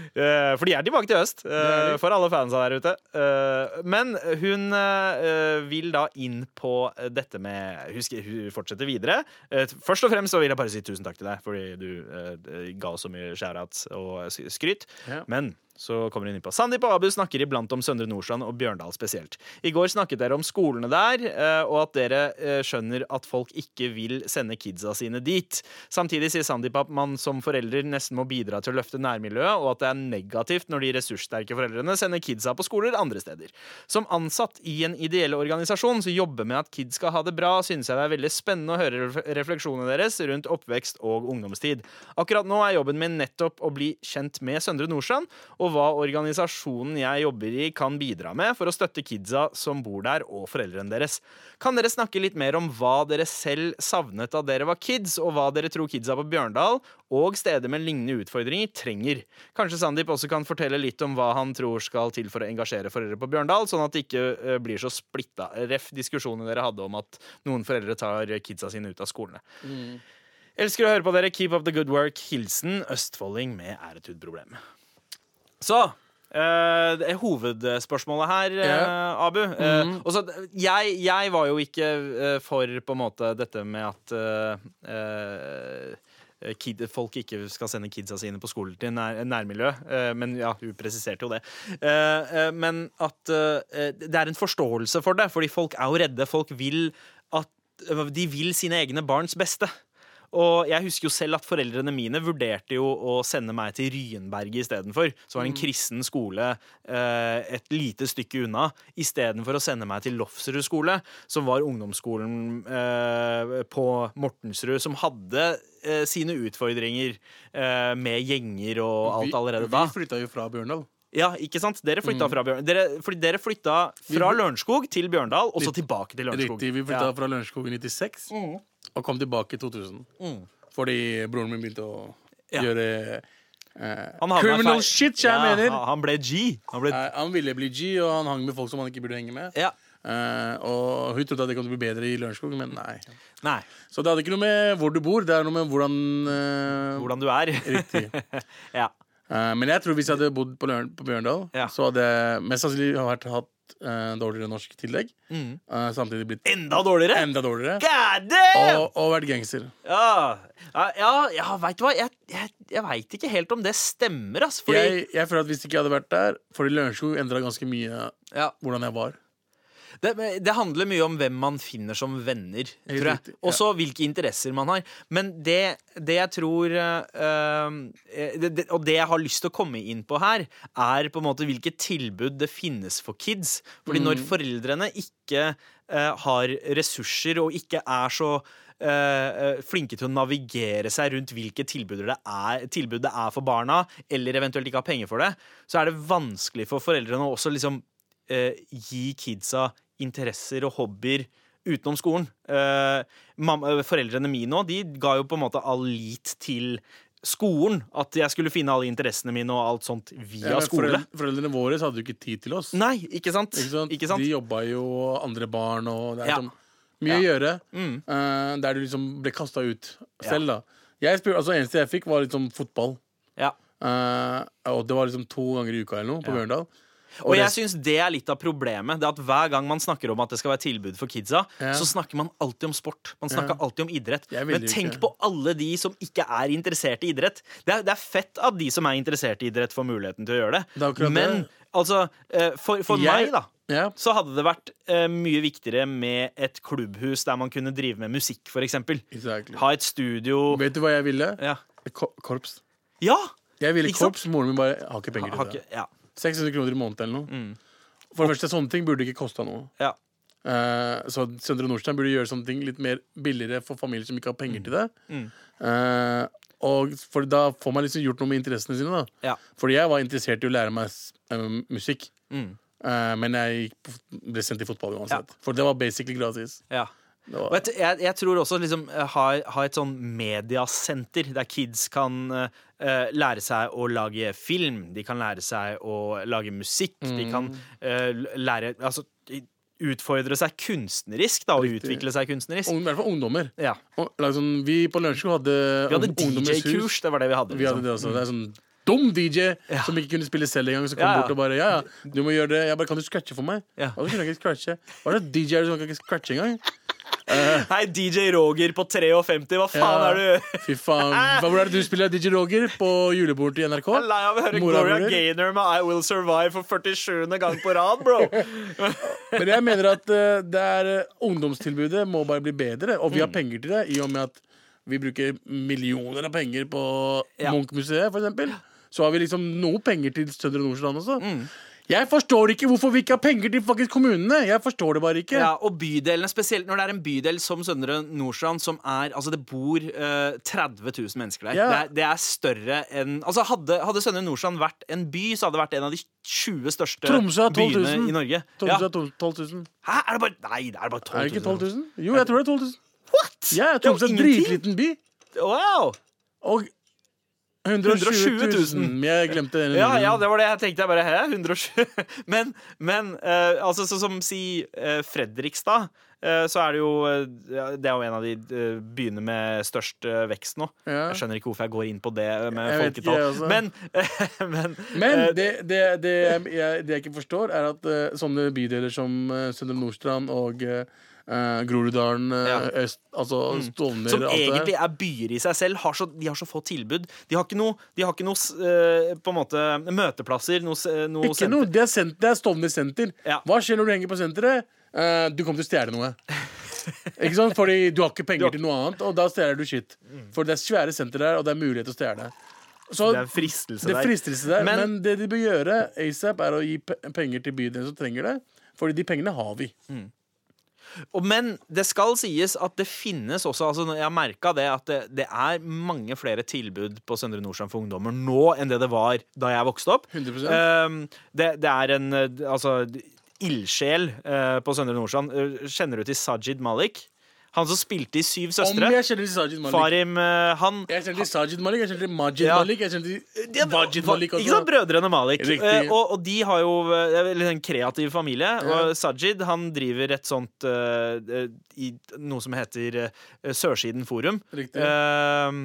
S5: Eh, for de er tilbake til høst, eh,
S6: er de.
S5: for alle fansa der ute. Eh, men hun eh, vil da inn på dette med Hun, skri- hun fortsetter videre. Eh, først og fremst så vil jeg bare si tusen takk til deg, fordi du eh, ga oss så mye shoutouts og skryt.
S6: Ja.
S5: Men så kommer hun inn på Sandeep og Abu snakker iblant om Søndre Nordstrand og Bjørndal spesielt. I går snakket dere om skolene der, eh, og at dere eh, skjønner at folk ikke vil sende kidsa sine dit. Samtidig sier Sandeep at man som forelder nesten må bidra til å løfte nærmiljøet, og at det er negativt når de ressurssterke foreldrene sender kidsa på skoler andre steder. Som ansatt i en ideell organisasjon som jobber med at kids skal ha det bra, synes jeg det er veldig spennende å høre ref- refleksjonene deres rundt oppvekst og ungdomstid. Akkurat nå er jobben min nettopp å bli kjent med Søndre Nordstrand, og hva organisasjonen jeg jobber i kan bidra med for å støtte kidsa som bor der, og foreldrene deres. Kan dere snakke litt mer om hva dere selv savnet da dere var kids, og hva dere tror kidsa på Bjørndal og steder med lignende utfordringer trenger? Kanskje Sandeep også kan fortelle litt om hva han tror skal til for å engasjere foreldre på Bjørndal, sånn at det ikke eh, blir så splitta. Ref diskusjonen dere hadde om at noen foreldre tar kidsa sine ut av skolene. Elsker å høre på dere. Keep up the good work. Hilsen østfolding med æretud-problem. Så eh, det er hovedspørsmålet her, eh,
S6: Ja.
S5: Abu eh, og så, jeg, jeg var jo ikke eh, for på en måte dette med at eh, eh, Kid, folk ikke skal sende kidsa sine på skolen til nær, nærmiljø. eh, men ja, hun presiserte jo det. Eh, eh, men at eh, det er en forståelse for det, fordi folk er jo redde. Folk vil at De vil sine egne barns beste. Og jeg husker jo selv at foreldrene mine vurderte jo å sende meg til Ryenberget istedenfor. Som
S6: Mm.
S5: var det en kristen skole eh, et lite stykke unna. Istedenfor å sende meg til Lofsrud skole, som var ungdomsskolen eh, på Mortensrud, som hadde eh, sine utfordringer eh, med gjenger og
S6: Vi-
S5: alt allerede da.
S6: Vi Mm. flytta jo fra Bjørndal.
S5: Ja, ikke sant? Dere flytta fra, Bjørn, dere, fordi dere flytta fra Lørenskog til Bjørndal, og så tilbake til Lørenskog.
S6: Riktig, Vi flytta
S5: Ja.
S6: fra Lørenskog i 96
S5: Mm.
S6: og kom tilbake i 2000. Fordi broren min begynte å
S5: Ja.
S6: gjøre eh,
S5: Han havna i
S6: criminal
S5: feil-
S6: shit, jeg
S5: Ja,
S6: mener!
S5: han- Han ble G. Han ble,
S6: Eh, han ville bli G, og han hang med folk som han ikke burde henge med.
S5: ja.
S6: Eh, og hun trodde at det kom til å bli bedre i Lørenskog, men nei.
S5: Nei.
S6: Så det hadde ikke noe med hvor du bor, det er noe med hvordan, eh,
S5: hvordan du er.
S6: Riktig.
S5: (laughs) ja.
S6: Eh, men jeg tror hvis jeg hadde bodd på, Løren, på Bjørndal,
S5: Ja.
S6: så hadde jeg mest sannsynlig vært, hatt eh, dårligere norsk tillegg.
S5: Mm.
S6: eh, samtidig blitt
S5: Enda dårligere!
S6: enda dårligere.
S5: God damn!
S6: Og, og vært gangster.
S5: Ja, ja, ja, ja veit du hva? Jeg, jeg, jeg veit ikke helt om det stemmer, ass. Fordi
S6: jeg, jeg føler at hvis ikke jeg hadde vært der Fordi Lørenskog endra ganske mye
S5: ja,
S6: hvordan jeg var.
S5: det, det handler mye om hvem man finner som venner, tror
S6: riktig,
S5: jeg.
S6: ja.
S5: Og så hvilke interesser man har. Men det, det jeg tror eh, eh, det, det, Og det jeg har lyst til å komme inn på her, er på en måte hvilke tilbud det finnes for kids. Fordi
S6: Mm.
S5: når foreldrene ikke eh, har ressurser og ikke er så eh, eh, flinke til å navigere seg rundt hvilke tilbud det, er, tilbud det er for barna, eller eventuelt ikke har penger for det, så er det vanskelig for foreldrene å også liksom eh, gi kidsa interesser og hobbyer utenom skolen. Eh, mamma, eh, foreldrene mine òg, de ga jo på en måte all lit til skolen. At jeg skulle finne alle interessene mine og alt sånt via
S6: Ja, men
S5: skole.
S6: forel- Eh, Foreldrene våre så hadde jo ikke tid til oss.
S5: Nei, ikke sant?
S6: Ikke sant? De jobba jo og andre barn, og det er
S5: Ja.
S6: sånn mye å gjøre.
S5: Mm.
S6: eh, der du liksom ble kasta ut selv, da. Jeg spør, altså, eneste jeg fikk, var liksom fotball.
S5: Ja.
S6: Eh, og det var liksom to ganger i uka eller noe på Bjørndal.
S5: Og jeg
S6: det-
S5: syns det er litt av problemet. Det er at Hver gang man snakker om at det skal være tilbud for kidsa,
S6: Ja.
S5: så snakker man alltid om sport. Man snakker alltid om idrett.
S6: Jeg ville
S5: Men
S6: jo
S5: tenk
S6: ikke.
S5: på alle de som ikke er interessert i idrett. Det er, det er fett at de som er interessert i idrett, får muligheten til å gjøre
S6: Det er
S5: det.
S6: akkurat
S5: Men
S6: det.
S5: altså, eh, for, for meg,
S6: Jeg-
S5: da.
S6: Ja.
S5: Så hadde det vært eh, mye viktigere med et klubbhus der man kunne drive med musikk, f.eks.
S6: Exactly.
S5: Ha et studio
S6: Vet du hva jeg ville?
S5: Ja!
S6: Ko- Korps.
S5: ja!
S6: Jeg ville
S5: Ikke sant?
S6: korps. Moren min bare har ikke penger
S5: Har
S6: til det.
S5: ikke, ja,
S6: 600 kroner i måneden eller noe.
S5: Mm.
S6: For det første, sånne ting burde ikke kosta noe.
S5: ja.
S6: Eh, så Søndre Nordstrand burde gjøre sånne ting litt mer billigere for familier som ikke har
S5: Mm.
S6: penger til det. Eh, og for da får man liksom gjort noe med interessene sine. da
S5: Ja.
S6: Fordi jeg var interessert i å lære meg s- eh, musikk.
S5: Mm.
S6: Eh, men jeg gikk på, f- ble sendt i fotball uansett. For det var basically gratis.
S5: ja.
S6: Det var,
S5: Og jeg, jeg, jeg tror også liksom, eh, ha, ha et sånn mediasenter der kids kan eh, eh, lære seg å lage film, de kan lære seg å lage musikk, de kan
S6: Mm.
S5: eh, lære Altså i- utfordre seg kunstnerisk, da, og
S6: Riktig.
S5: utvikle seg kunstnerisk.
S6: ung, I hvert fall ungdommer.
S5: Ja.
S6: Og, like, sånn, vi på Lørenskog hadde,
S5: Vi hadde
S6: ung- ungdommens hus.
S5: DJ-kurs, det var det vi hadde. liksom.
S6: Vi hadde det også. Det er sånn dum DJ som ikke kunne spille selv engang. Som kom
S5: Ja, ja.
S6: bort og bare Ja, ja, du må gjøre det. Jeg bare Kan du scratche for meg?
S5: Ja.
S6: Og så kunne jeg ikke scratche. Hva er det DJ er som kan ikke scratche engang?
S5: Hei, DJ Roger på 53, hva faen
S6: Ja.
S5: er du? (laughs)
S6: Fy faen. Hva- Hvor er det du spiller DJ Roger? På julebordet til NRK?
S5: Jeg er lei av å høre
S6: Mora
S5: Gloria
S6: vår.
S5: Gaynor med I Will Survive for 47. gang på rad, bro.
S6: (laughs) Men jeg mener at eh, det er eh, ungdomstilbudet må bare bli bedre, og
S5: Mm.
S6: vi har penger til det i og med at vi bruker millioner av penger på
S5: Ja.
S6: Munch-museet, for eksempel. Så har vi liksom noe penger til Søndre Nordstrand også.
S5: Mm.
S6: Jeg forstår ikke hvorfor vi ikke har penger til faktisk kommunene! Jeg forstår det bare ikke.
S5: Ja, og bydelene, spesielt når det er en bydel som Søndre Nordstrand, som er Altså, det bor eh, 30 000 mennesker der.
S6: Ja.
S5: Det, er, det er større enn Altså, hadde, hadde Søndre Nordstrand vært en by, så hadde det vært en av de 20 største
S6: Tromsø er 12
S5: byene
S6: 000.
S5: i Norge.
S6: Tromsø er
S5: Ja.
S6: 12 000.
S5: Hæ, er det bare Nei, det er bare 12 000.
S6: Er det ikke 12 000? Jo, jeg tror det er 12 000.
S5: What?!
S6: Ja,
S5: Det er jo
S6: Tromsø er en
S5: ingenting.
S6: dritliten by.
S5: Wow!
S6: Og 120 000.
S5: 120 000.
S6: Jeg glemte den.
S5: Ja, ja, det var det jeg tenkte. Jeg bare, hæ, 120 (laughs) Men, men eh, altså, sånn som si eh, Fredrikstad, eh, så er det jo eh, ja, Det er jo en av de eh, byene med størst eh, vekst nå.
S6: Ja.
S5: Jeg skjønner ikke hvorfor jeg går inn på det eh, med
S6: Jeg vet ikke, altså.
S5: folketall.
S6: jeg også.
S5: men (laughs) men,
S6: Men
S5: eh,
S6: det, det, det, jeg, jeg, det jeg ikke forstår, er at eh, sånne bydeler som eh, Søndre Nordstrand og eh, eh, Groruddalen, eh,
S5: Ja. Mm.
S6: Øst, altså Stovner
S5: som
S6: alt det der.
S5: egentlig er byer i seg selv. Har så, de har så få tilbud. De har ikke noe, de har ikke noe s- eh, på en måte, møteplasser. Noe, s- eh, noe
S6: Ikke
S5: senter.
S6: noe, det er, sent, det er Stovner senter.
S5: Ja.
S6: Hva skjer når du henger på senteret? Eh, du kommer til å stjele
S5: (laughs)
S6: noe. ikke sant? Fordi du har ikke penger
S5: har- Mm.
S6: til noe annet, og da stjeler du shit. For det er svære senter der, og det er mulighet til å stjele. Så
S5: Det er en fristelse
S6: det
S5: der.
S6: fristelse der.
S5: Men-
S6: Men, det de bør gjøre ASAP, er å gi pe penger til bydelen som trenger det. Fordi de pengene har vi.
S5: Og, men det skal sies at det finnes også altså, Jeg har merka det at det, det er mange flere tilbud på Søndre Nordstrand for ungdommer nå enn det det var da jeg vokste opp.
S6: 100%.
S5: Ehm, det, det er en eh, altså, ildsjel eh, på Søndre Nordstrand. Eh, Kjenner du til Sajid Malik? Han som spilte i Syv
S6: Om
S5: søstre.
S6: jeg kjenner til Sajid Malik
S5: Farim, eh, han
S6: Jeg kjenner til Sajid Malik, jeg kjenner til Majid
S5: Ja.
S6: Malik, jeg kjenner til eh, Wajid
S5: Hva-
S6: Malik
S5: Ikke sant,
S6: også.
S5: brødrene Malik.
S6: Riktig.
S5: Eh, og, og de har jo eh, en litt sånn kreativ familie. Og Sajid han driver et sånt eh, eh, i noe som heter eh, Sørsiden Forum.
S6: Riktig.
S5: Eh,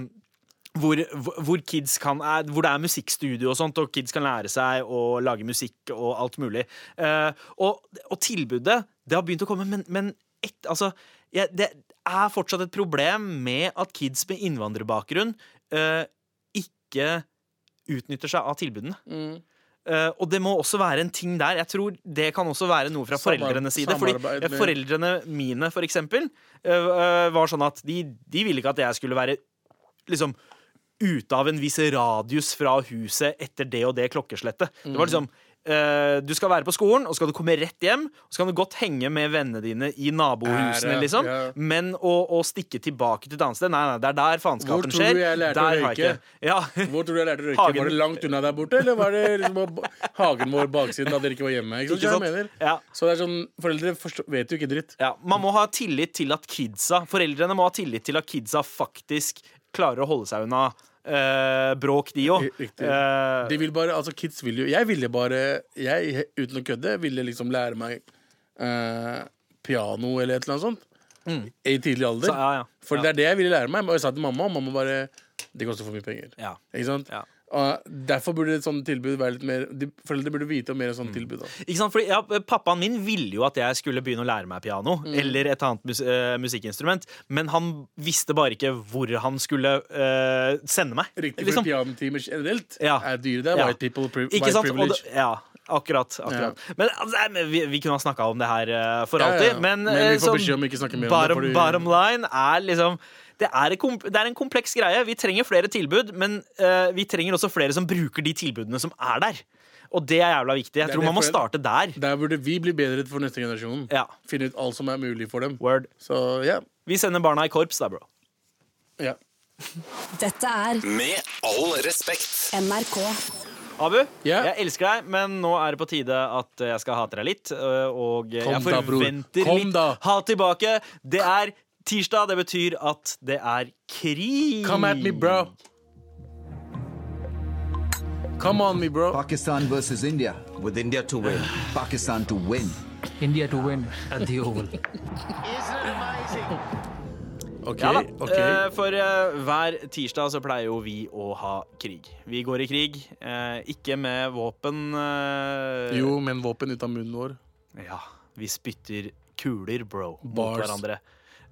S5: hvor, hvor hvor kids kan er, Hvor det er musikkstudio og sånt, og kids kan lære seg å lage musikk og alt mulig. Eh, og, og tilbudet, det har begynt å komme, men, men et, altså, jeg- det er fortsatt et problem med at kids med innvandrerbakgrunn eh, ikke utnytter seg av tilbudene.
S6: Mm.
S5: Eh, og det må også være en ting der. Jeg tror Det kan også være noe fra
S6: Samar-
S5: foreldrenes side. Fordi eh,
S6: samarbeid med-
S5: Foreldrene mine, for eksempel, eh, eh, var sånn at de, de ville ikke at jeg skulle være liksom ute av en viss radius fra huset etter det og det klokkeslettet. Det
S6: Mm.
S5: var liksom eh, Du skal være på skolen, og så skal du komme rett hjem. Og så kan du godt henge med vennene dine i nabohusene,
S6: Ære,
S5: liksom.
S6: ja.
S5: Men å, å stikke tilbake til et annet sted Nei, nei, det er der
S6: Hvor
S5: faenskapen
S6: tror
S5: skjer.
S6: du jeg lærte å
S5: Der har jeg
S6: røyke?
S5: ikke Ja,
S6: Hvor tror du jeg lærte å røyke?
S5: Hagen.
S6: Var det langt unna der borte, eller var det liksom ba- hagen vår baksiden da dere ikke var hjemme? Ikke sant?
S5: Ikke
S6: Jeg
S5: sant?
S6: mener.
S5: Ja.
S6: Så det er sånn, foreldre forstår, vet jo ikke dritt.
S5: (laughs) Ja, Man må ha tillit til at kidsa Foreldrene må ha tillit til at kidsa faktisk klarer å holde seg unna eh, bråk, de Eh, òg.
S6: I- riktig. De vil bare, altså Kids vil jo Jeg ville bare, jeg uten å kødde, ville liksom lære meg eh, piano eller et eller annet sånt. I tidlig
S5: Mm.
S6: alder.
S5: Så, ja, ja.
S6: For
S5: Ja.
S6: det er det jeg ville lære meg. Og jeg sa til mamma, og mamma bare Det koster for mye penger.
S5: Ja.
S6: Ikke sant?
S5: Ja.
S6: Og derfor burde et sånt tilbud være litt mer de, Foreldre burde vite om mer
S5: Mm.
S6: sånt tilbud. Da.
S5: Ikke sant? Fordi, ja, pappaen min ville jo at jeg skulle begynne å lære meg piano
S6: Mm.
S5: eller et annet mus eh, musikkinstrument, men han visste bare ikke hvor han skulle eh, sende meg.
S6: Riktig
S5: Liksom.
S6: for pianotimer generelt
S5: Ja.
S6: er dyre. Det er
S5: Ja.
S6: white people pri
S5: Ikke
S6: white
S5: sant? Og
S6: privilege.
S5: det- ja, akkurat. akkurat. Men altså, nei, men vi, vi kunne ha snakka om det her eh, for
S6: Ja, ja, ja.
S5: alltid. Men,
S6: Men
S5: eh,
S6: vi får
S5: sånn
S6: beskjed om ikke å snakke mer om det,
S5: bottom,
S6: fordi-
S5: bottom line er liksom det er, et kom- det er en kompleks greie. Vi trenger flere tilbud, men eh, vi trenger også flere som bruker de tilbudene som er der. Og det er jævla viktig. Jeg
S6: er
S5: tror
S6: det
S5: man må
S6: for-
S5: starte der.
S6: Der burde vi bli bedre for neste generasjon.
S5: Ja.
S6: Finne ut alt som er mulig for dem.
S5: Word.
S6: Så ja.
S5: Vi sender barna i korps, da, bro.
S6: ja.
S3: Dette er
S1: Med all respekt.
S3: NRK.
S5: Abu,
S6: Ja.
S5: jeg elsker deg, men nå er det på tide at jeg skal hate deg litt. øh, Og
S6: Kom
S5: jeg
S6: da, bror.
S5: forventer
S6: Kom
S5: litt
S6: da.
S5: hat tilbake. Det er tirsdag, det betyr at det er krig.
S6: Come at me, bro. Come on me, bro.
S4: Pakistan versus India. With India to win. Pakistan to win.
S7: India to win at the Oval.
S6: OK.
S5: Ja da.
S6: ok.
S5: Eh, For eh, hver tirsdag så pleier jo vi å ha krig. Vi går i krig. eh, Ikke med våpen. eh,
S6: Jo, men våpen ut av munnen vår.
S5: Ja, vi spytter kuler, bro, mot
S6: Bars.
S5: hverandre.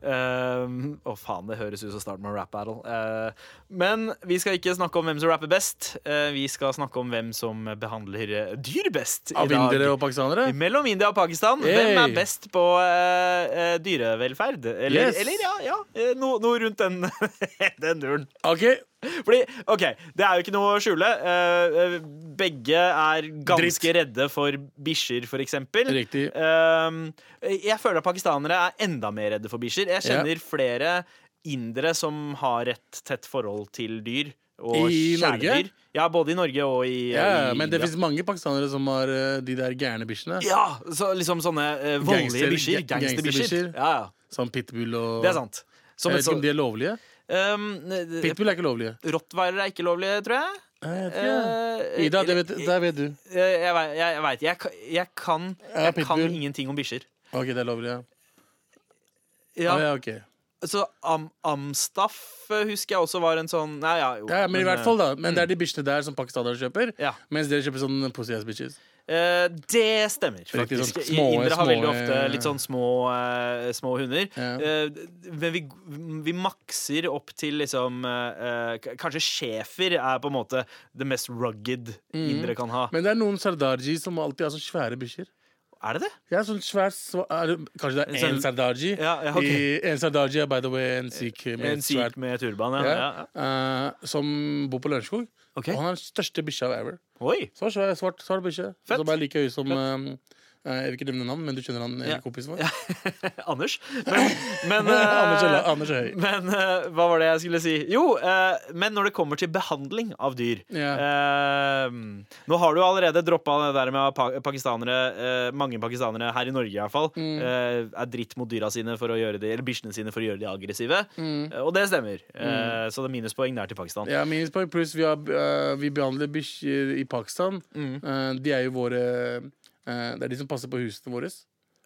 S5: Ehm, Å, faen, det høres ut som starten med en rap battle. Eh, men vi skal ikke snakke om hvem som rapper best. Eh, vi skal snakke om hvem som behandler eh, dyr best. i
S6: Av
S5: dag.
S6: indere og pakistanere?
S5: Mellom India og Pakistan.
S6: Hey.
S5: Hvem er best på eh, eh, dyrevelferd? Eller,
S6: Yes.
S5: eller ja, ja. eh, Noe noe rundt den, (laughs) den duren.
S6: OK.
S5: Fordi, ok, det er jo ikke noe å skjule. Eh, eh, begge er ganske
S6: Dritt.
S5: redde for bikkjer, for eksempel.
S6: Riktig.
S5: Eh, jeg føler at pakistanere er enda mer redde for bikkjer. Jeg kjenner flere indere som har et tett forhold til dyr. Og
S6: I Norge?
S5: kjæledyr. Ja, både i Norge og i,
S6: Ja,
S5: i
S6: men det
S5: India.
S6: fins mange pakistanere som har eh, de der gærne bikkjene.
S5: Ja, så liksom sånne eh, voldelige
S6: Gangster-
S5: bikkjer.
S6: ga-
S5: Gangsterbikkjer.
S6: gangsterbikkjer.
S5: Ja, ja.
S6: Som pitbull og
S5: Det er sant. Som et
S6: Jeg vet ikke
S5: sånt
S6: om de er lovlige.
S5: um,
S6: Pitbull er ikke lovlige.
S5: Rottweiler er ikke lovlig, tror jeg. Eh,
S6: Ida, det vet,
S5: eller-
S6: der vet du.
S5: Jeg, Eh, jeg, vei- jeg, jeg veit. Jeg, ka- jeg kan
S6: Ja,
S5: Jeg kan
S6: pitbull.
S5: ingenting om bikkjer.
S6: OK, det er lovlig, ja.
S5: Ja,
S6: Ah, ja, ok. ja,
S5: Så am, Amstaff eh, husker jeg også var en sånn Nei, ja, jo.
S6: ja, men i hvert fall, da. Men det er de bikkjene der som pakistanere kjøper.
S5: eh, mm. Ja.
S6: Mens dere kjøper sånne pussy ass bitches.
S5: eh, Det stemmer,
S6: sånn
S5: faktisk. I-
S6: små-
S5: Indre har veldig
S6: små,
S5: ofte
S6: eh,
S5: litt sånn små, eh, små hunder.
S6: Ja.
S5: Eh, men vi, vi makser opp til liksom eh, eh, k- Kanskje schæfer er på en måte det mest rugged indre kan ha.
S6: Mhm. Men det er noen sardarji som alltid har så svære bikkjer.
S5: Er det det?
S6: Jeg er sånn svær sva- er, det- Kanskje det er
S5: En
S6: én
S5: sånn-
S6: sardarji.
S5: Ja, ja, ok.
S6: I- En sardarji er by the way en sikh med
S5: En
S6: et svært
S5: syk med turban, ja. ja.
S6: ja,
S5: ja.
S6: eh, som bor på Lørenskog.
S5: Ok.
S6: Og han er den største bikkja ever.
S5: Oi! (laughs)
S6: Så svær, svart, svart bikkje.
S5: Fett.
S6: Som er like høy som eh, Jeg vil ikke nevne navn, men du kjenner han
S5: Ja.
S6: ja. kompisen vår.
S5: Anders. Men, men
S6: (laughs) Anders,
S5: eh,
S6: Ølla- Anders er høy.
S5: Men eh, hva var det jeg skulle si? Jo, eh, men når det kommer til behandling av dyr eh, Nå har du jo allerede droppa det der med at pa- pakistanere eh, Mange pakistanere her i Norge i hvert fall
S6: Mm.
S5: eh, er dritt mot dyra sine for å gjøre de, eller bikkjene sine for å gjøre de aggressive. Eh, og det stemmer. Eh, så det er minuspoeng der til Pakistan.
S6: Mm. Ja, minuspoeng. Pluss vi, har, eh, vi behandler bikkjer i Pakistan.
S5: Mm.
S6: Eh, de er jo våre eh, Det er de som passer på husene våre.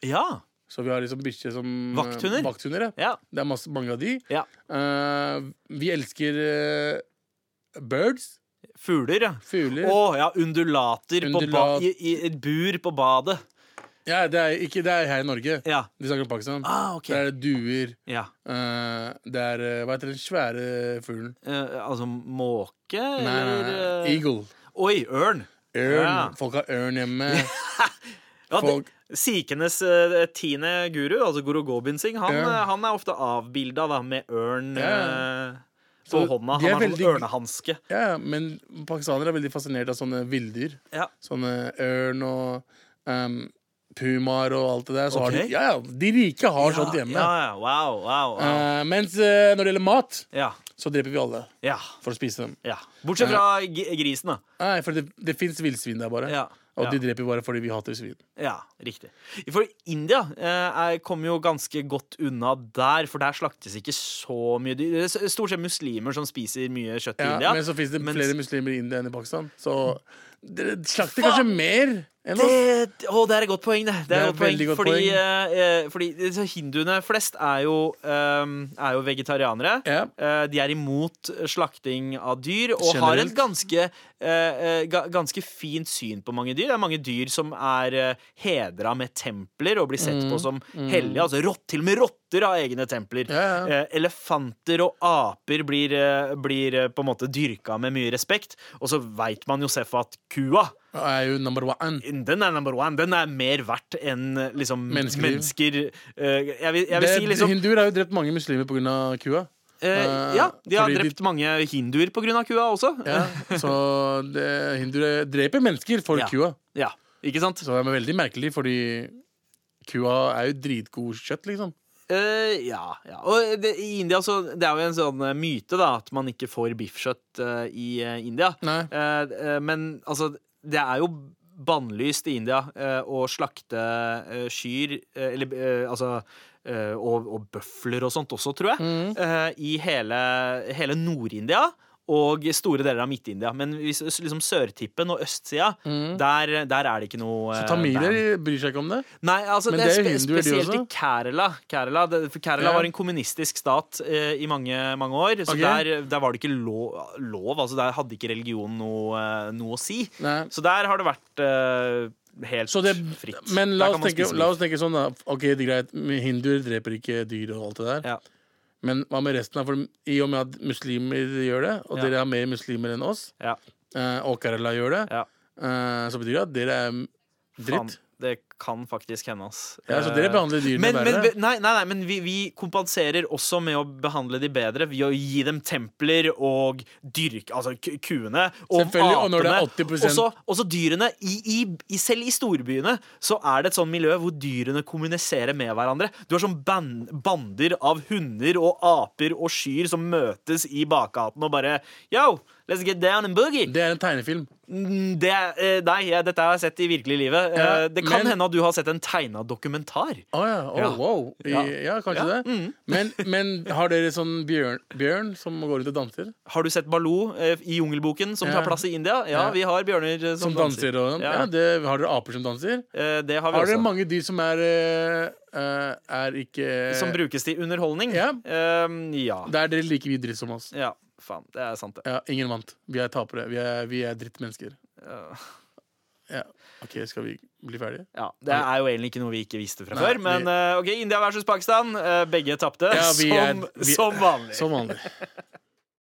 S5: Ja.
S6: Så vi har liksom bikkjer som eh,
S5: Vakthunder?
S6: vakthunder ja.
S5: Ja.
S6: Det er masse, mange av de.
S5: ja.
S6: Eh, vi elsker eh, birds.
S5: Fugler, ja.
S6: Fugler.
S5: Å ja, undulater på ba
S6: Undulat.
S5: i, i et bur på badet.
S6: Ja, det er ikke det er her i Norge.
S5: Ja.
S6: Vi snakker om Pakistan.
S5: Ah, ok.
S6: Det er duer.
S5: ja.
S6: eh, det er eh, Hva heter den svære fuglen?
S5: Eh, altså måke?
S6: Nei, nei, nei,
S5: eller, eh,
S6: Eagle.
S5: Oi, ørn.
S6: Ørn.
S5: Ja.
S6: Folk har ørn hjemme.
S5: Ja, det-
S6: Folk-
S5: Sikhenes eh, tiende guru, altså Guru Gobind Singh, han,
S6: Ja.
S5: eh, han er ofte avbilda da, med ørn
S6: Ja.
S5: eh, på
S6: Så
S5: hånda. Han
S6: de er
S5: har sånn
S6: veldig-
S5: ørnehanske.
S6: (laughs) Ja, men pakistanere er veldig fascinert av sånne villdyr.
S5: Ja.
S6: Sånne ørn og um, pumaer og alt det der. Så har de,
S5: Ok.
S6: ja, ja, de rike har sånt hjemme.
S5: Ja, ja, wow, wow, wow.
S6: Eh, mens eh, når det gjelder mat,
S5: ja,
S6: så dreper vi alle
S5: ja,
S6: for å spise dem.
S5: ja. Bortsett fra
S6: Eh.
S5: g- grisen, da.
S6: Nei, for det, det fins villsvin der bare.
S5: Ja,
S6: Og
S5: ja.
S6: de dreper bare fordi vi hater svin.
S5: Ja, riktig. For India eh, er- kommer jo ganske godt unna der, for der slaktes ikke så mye dyr. Det er s- Stort sett muslimer som spiser mye kjøtt i
S6: Ja,
S5: India.
S6: Men så fins det
S5: mens-
S6: flere muslimer i India enn i Pakistan. Så dere slakter kanskje mer enn oss.
S5: Det, å, det er et godt poeng, det. Det er et godt poeng,
S6: veldig godt
S5: fordi
S6: poeng.
S5: eh, eh, fordi så hinduene flest er jo, eh, er jo vegetarianere.
S6: Ja.
S5: Eh, de er i imot slakting av dyr, og har et
S6: Generelt.
S5: ganske, eh, eh, ga- ganske fint syn på mange dyr. Det er mange dyr som er eh, hedra med templer og blir sett
S6: Mm.
S5: på som hellige. Altså rått, til og med rotter har egne templer.
S6: Ja, ja.
S5: Eh, elefanter og aper blir, eh, blir eh, på en måte dyrka med mye respekt. Og så veit man, Josef, at kua
S6: er jo number one.
S5: den er number one. Den er mer verdt enn liksom,
S6: Menneskeliv.
S5: mennesker Eh, Jeg vil, jeg vil
S6: Det-
S5: si liksom
S6: Hinduer har jo drept mange muslimer pga. kua.
S5: Eh, ja, de har
S6: fordi de-
S5: drept mange hinduer pga. kua også.
S6: Ja, så det, hinduer dreper mennesker for
S5: Ja.
S6: kua.
S5: Ja, ikke sant?
S6: Så det er veldig merkelig, fordi kua er jo dritgod kjøtt, liksom.
S5: Eh, ja, ja. Og det, i India så Det er jo en sånn eh, myte da at man ikke får biffkjøtt eh, i eh, India.
S6: Nei.
S5: Eh, eh, men altså, det er jo bannlyst i India eh, å slakte eh, kyr eh, Eller eh, altså eh, og, og bøfler og sånt også, tror jeg.
S6: Mm.
S5: eh, I hele, hele Nord-India. Og store deler av Midt-India. Men hvis, liksom sørtippen og østsida, der, der er det ikke noe eh,
S6: Mm. Så
S5: ban.
S6: tamiler bryr seg ikke om det.
S5: Nei, altså
S6: Men
S5: det er
S6: det er
S5: spe
S6: hinduer, de
S5: spesielt i
S6: også.
S5: Kerala. Kerala, det, for Kerala
S6: Ja.
S5: var en kommunistisk stat eh, i mange, mange år. Så
S6: Ok.
S5: der, der var det ikke lov, lov. Altså Der hadde ikke religion noe, eh, noe å si.
S6: Nei.
S5: Så der har det vært eh, helt
S6: Så det,
S5: fritt.
S6: men
S5: Der
S6: la
S5: kan
S6: oss,
S5: man
S6: tenke,
S5: spise
S6: la
S5: biff.
S6: oss tenke sånn, da. Ok, det er greit, men hinduer dreper ikke dyr og alt det der.
S5: ja.
S6: Men hva med resten? av for I og med at muslimer gjør det, og
S5: Ja.
S6: dere har mer muslimer enn oss,
S5: Ja,
S6: eh, og Kerala gjør det,
S5: ja.
S6: eh, så betyr det at dere er
S5: Faen,
S6: dritt.
S5: det kan faktisk hende, ass.
S6: Ja, så dere
S5: Eh,
S6: behandler dyrene
S5: men, men,
S6: verre.
S5: be- nei, nei, nei, men vi, vi kompenserer også med å behandle de bedre ved å gi dem templer og dyrke Altså ku- kuene og
S6: Selvfølgelig,
S5: apene.
S6: og når det er 80%
S5: også, også dyrene. I, i, i, selv i storbyene så er det et sånn miljø hvor dyrene kommuniserer med hverandre. Du har sånn ban bander av hunder og aper og kyr som møtes i bakgaten og bare Yo, let's get down and boogie!
S6: Det er en tegnefilm.
S5: Mm, Det, eh, nei, jeg- dette har jeg sett i virkelig livet.
S6: Ja,
S5: Eh, det kan
S6: men-
S5: hende at du har sett en tegna dokumentar.
S6: Å ja. Å,
S5: Ja.
S6: wow. I,
S5: Ja. Mm.
S6: ja. kanskje det. Men, men har dere sånn bjørn, bjørn som går rundt og danser?
S5: Har du sett Baloo eh, i Jungelboken, som
S6: Ja.
S5: tar plass i India? Ja,
S6: Ja.
S5: vi har bjørner eh, som,
S6: Som danser og sånn?
S5: Ja.
S6: ja. det, Har dere aper som danser?
S5: Eh, det har vi
S6: Har
S5: også.
S6: dere mange dyr som er eh, eh, Er ikke
S5: Som brukes til underholdning?
S6: Ja.
S5: Ehm, ja.
S6: Der dere like mye dritt som oss.
S5: ja. Faen, det er sant, det.
S6: Ja, ingen vant. Vi er tapere. Vi er, vi er drittmennesker.
S5: Ja.
S6: Ja. OK, skal vi bli ferdige?
S5: Ja, det er jo egentlig ikke noe vi ikke visste fra
S6: Nei,
S5: før. Men
S6: vi-
S5: eh, ok, India versus Pakistan. eh, begge tapte,
S6: Ja, vi er-
S5: som,
S6: vi-
S5: som vanlig.
S6: Som vanlig.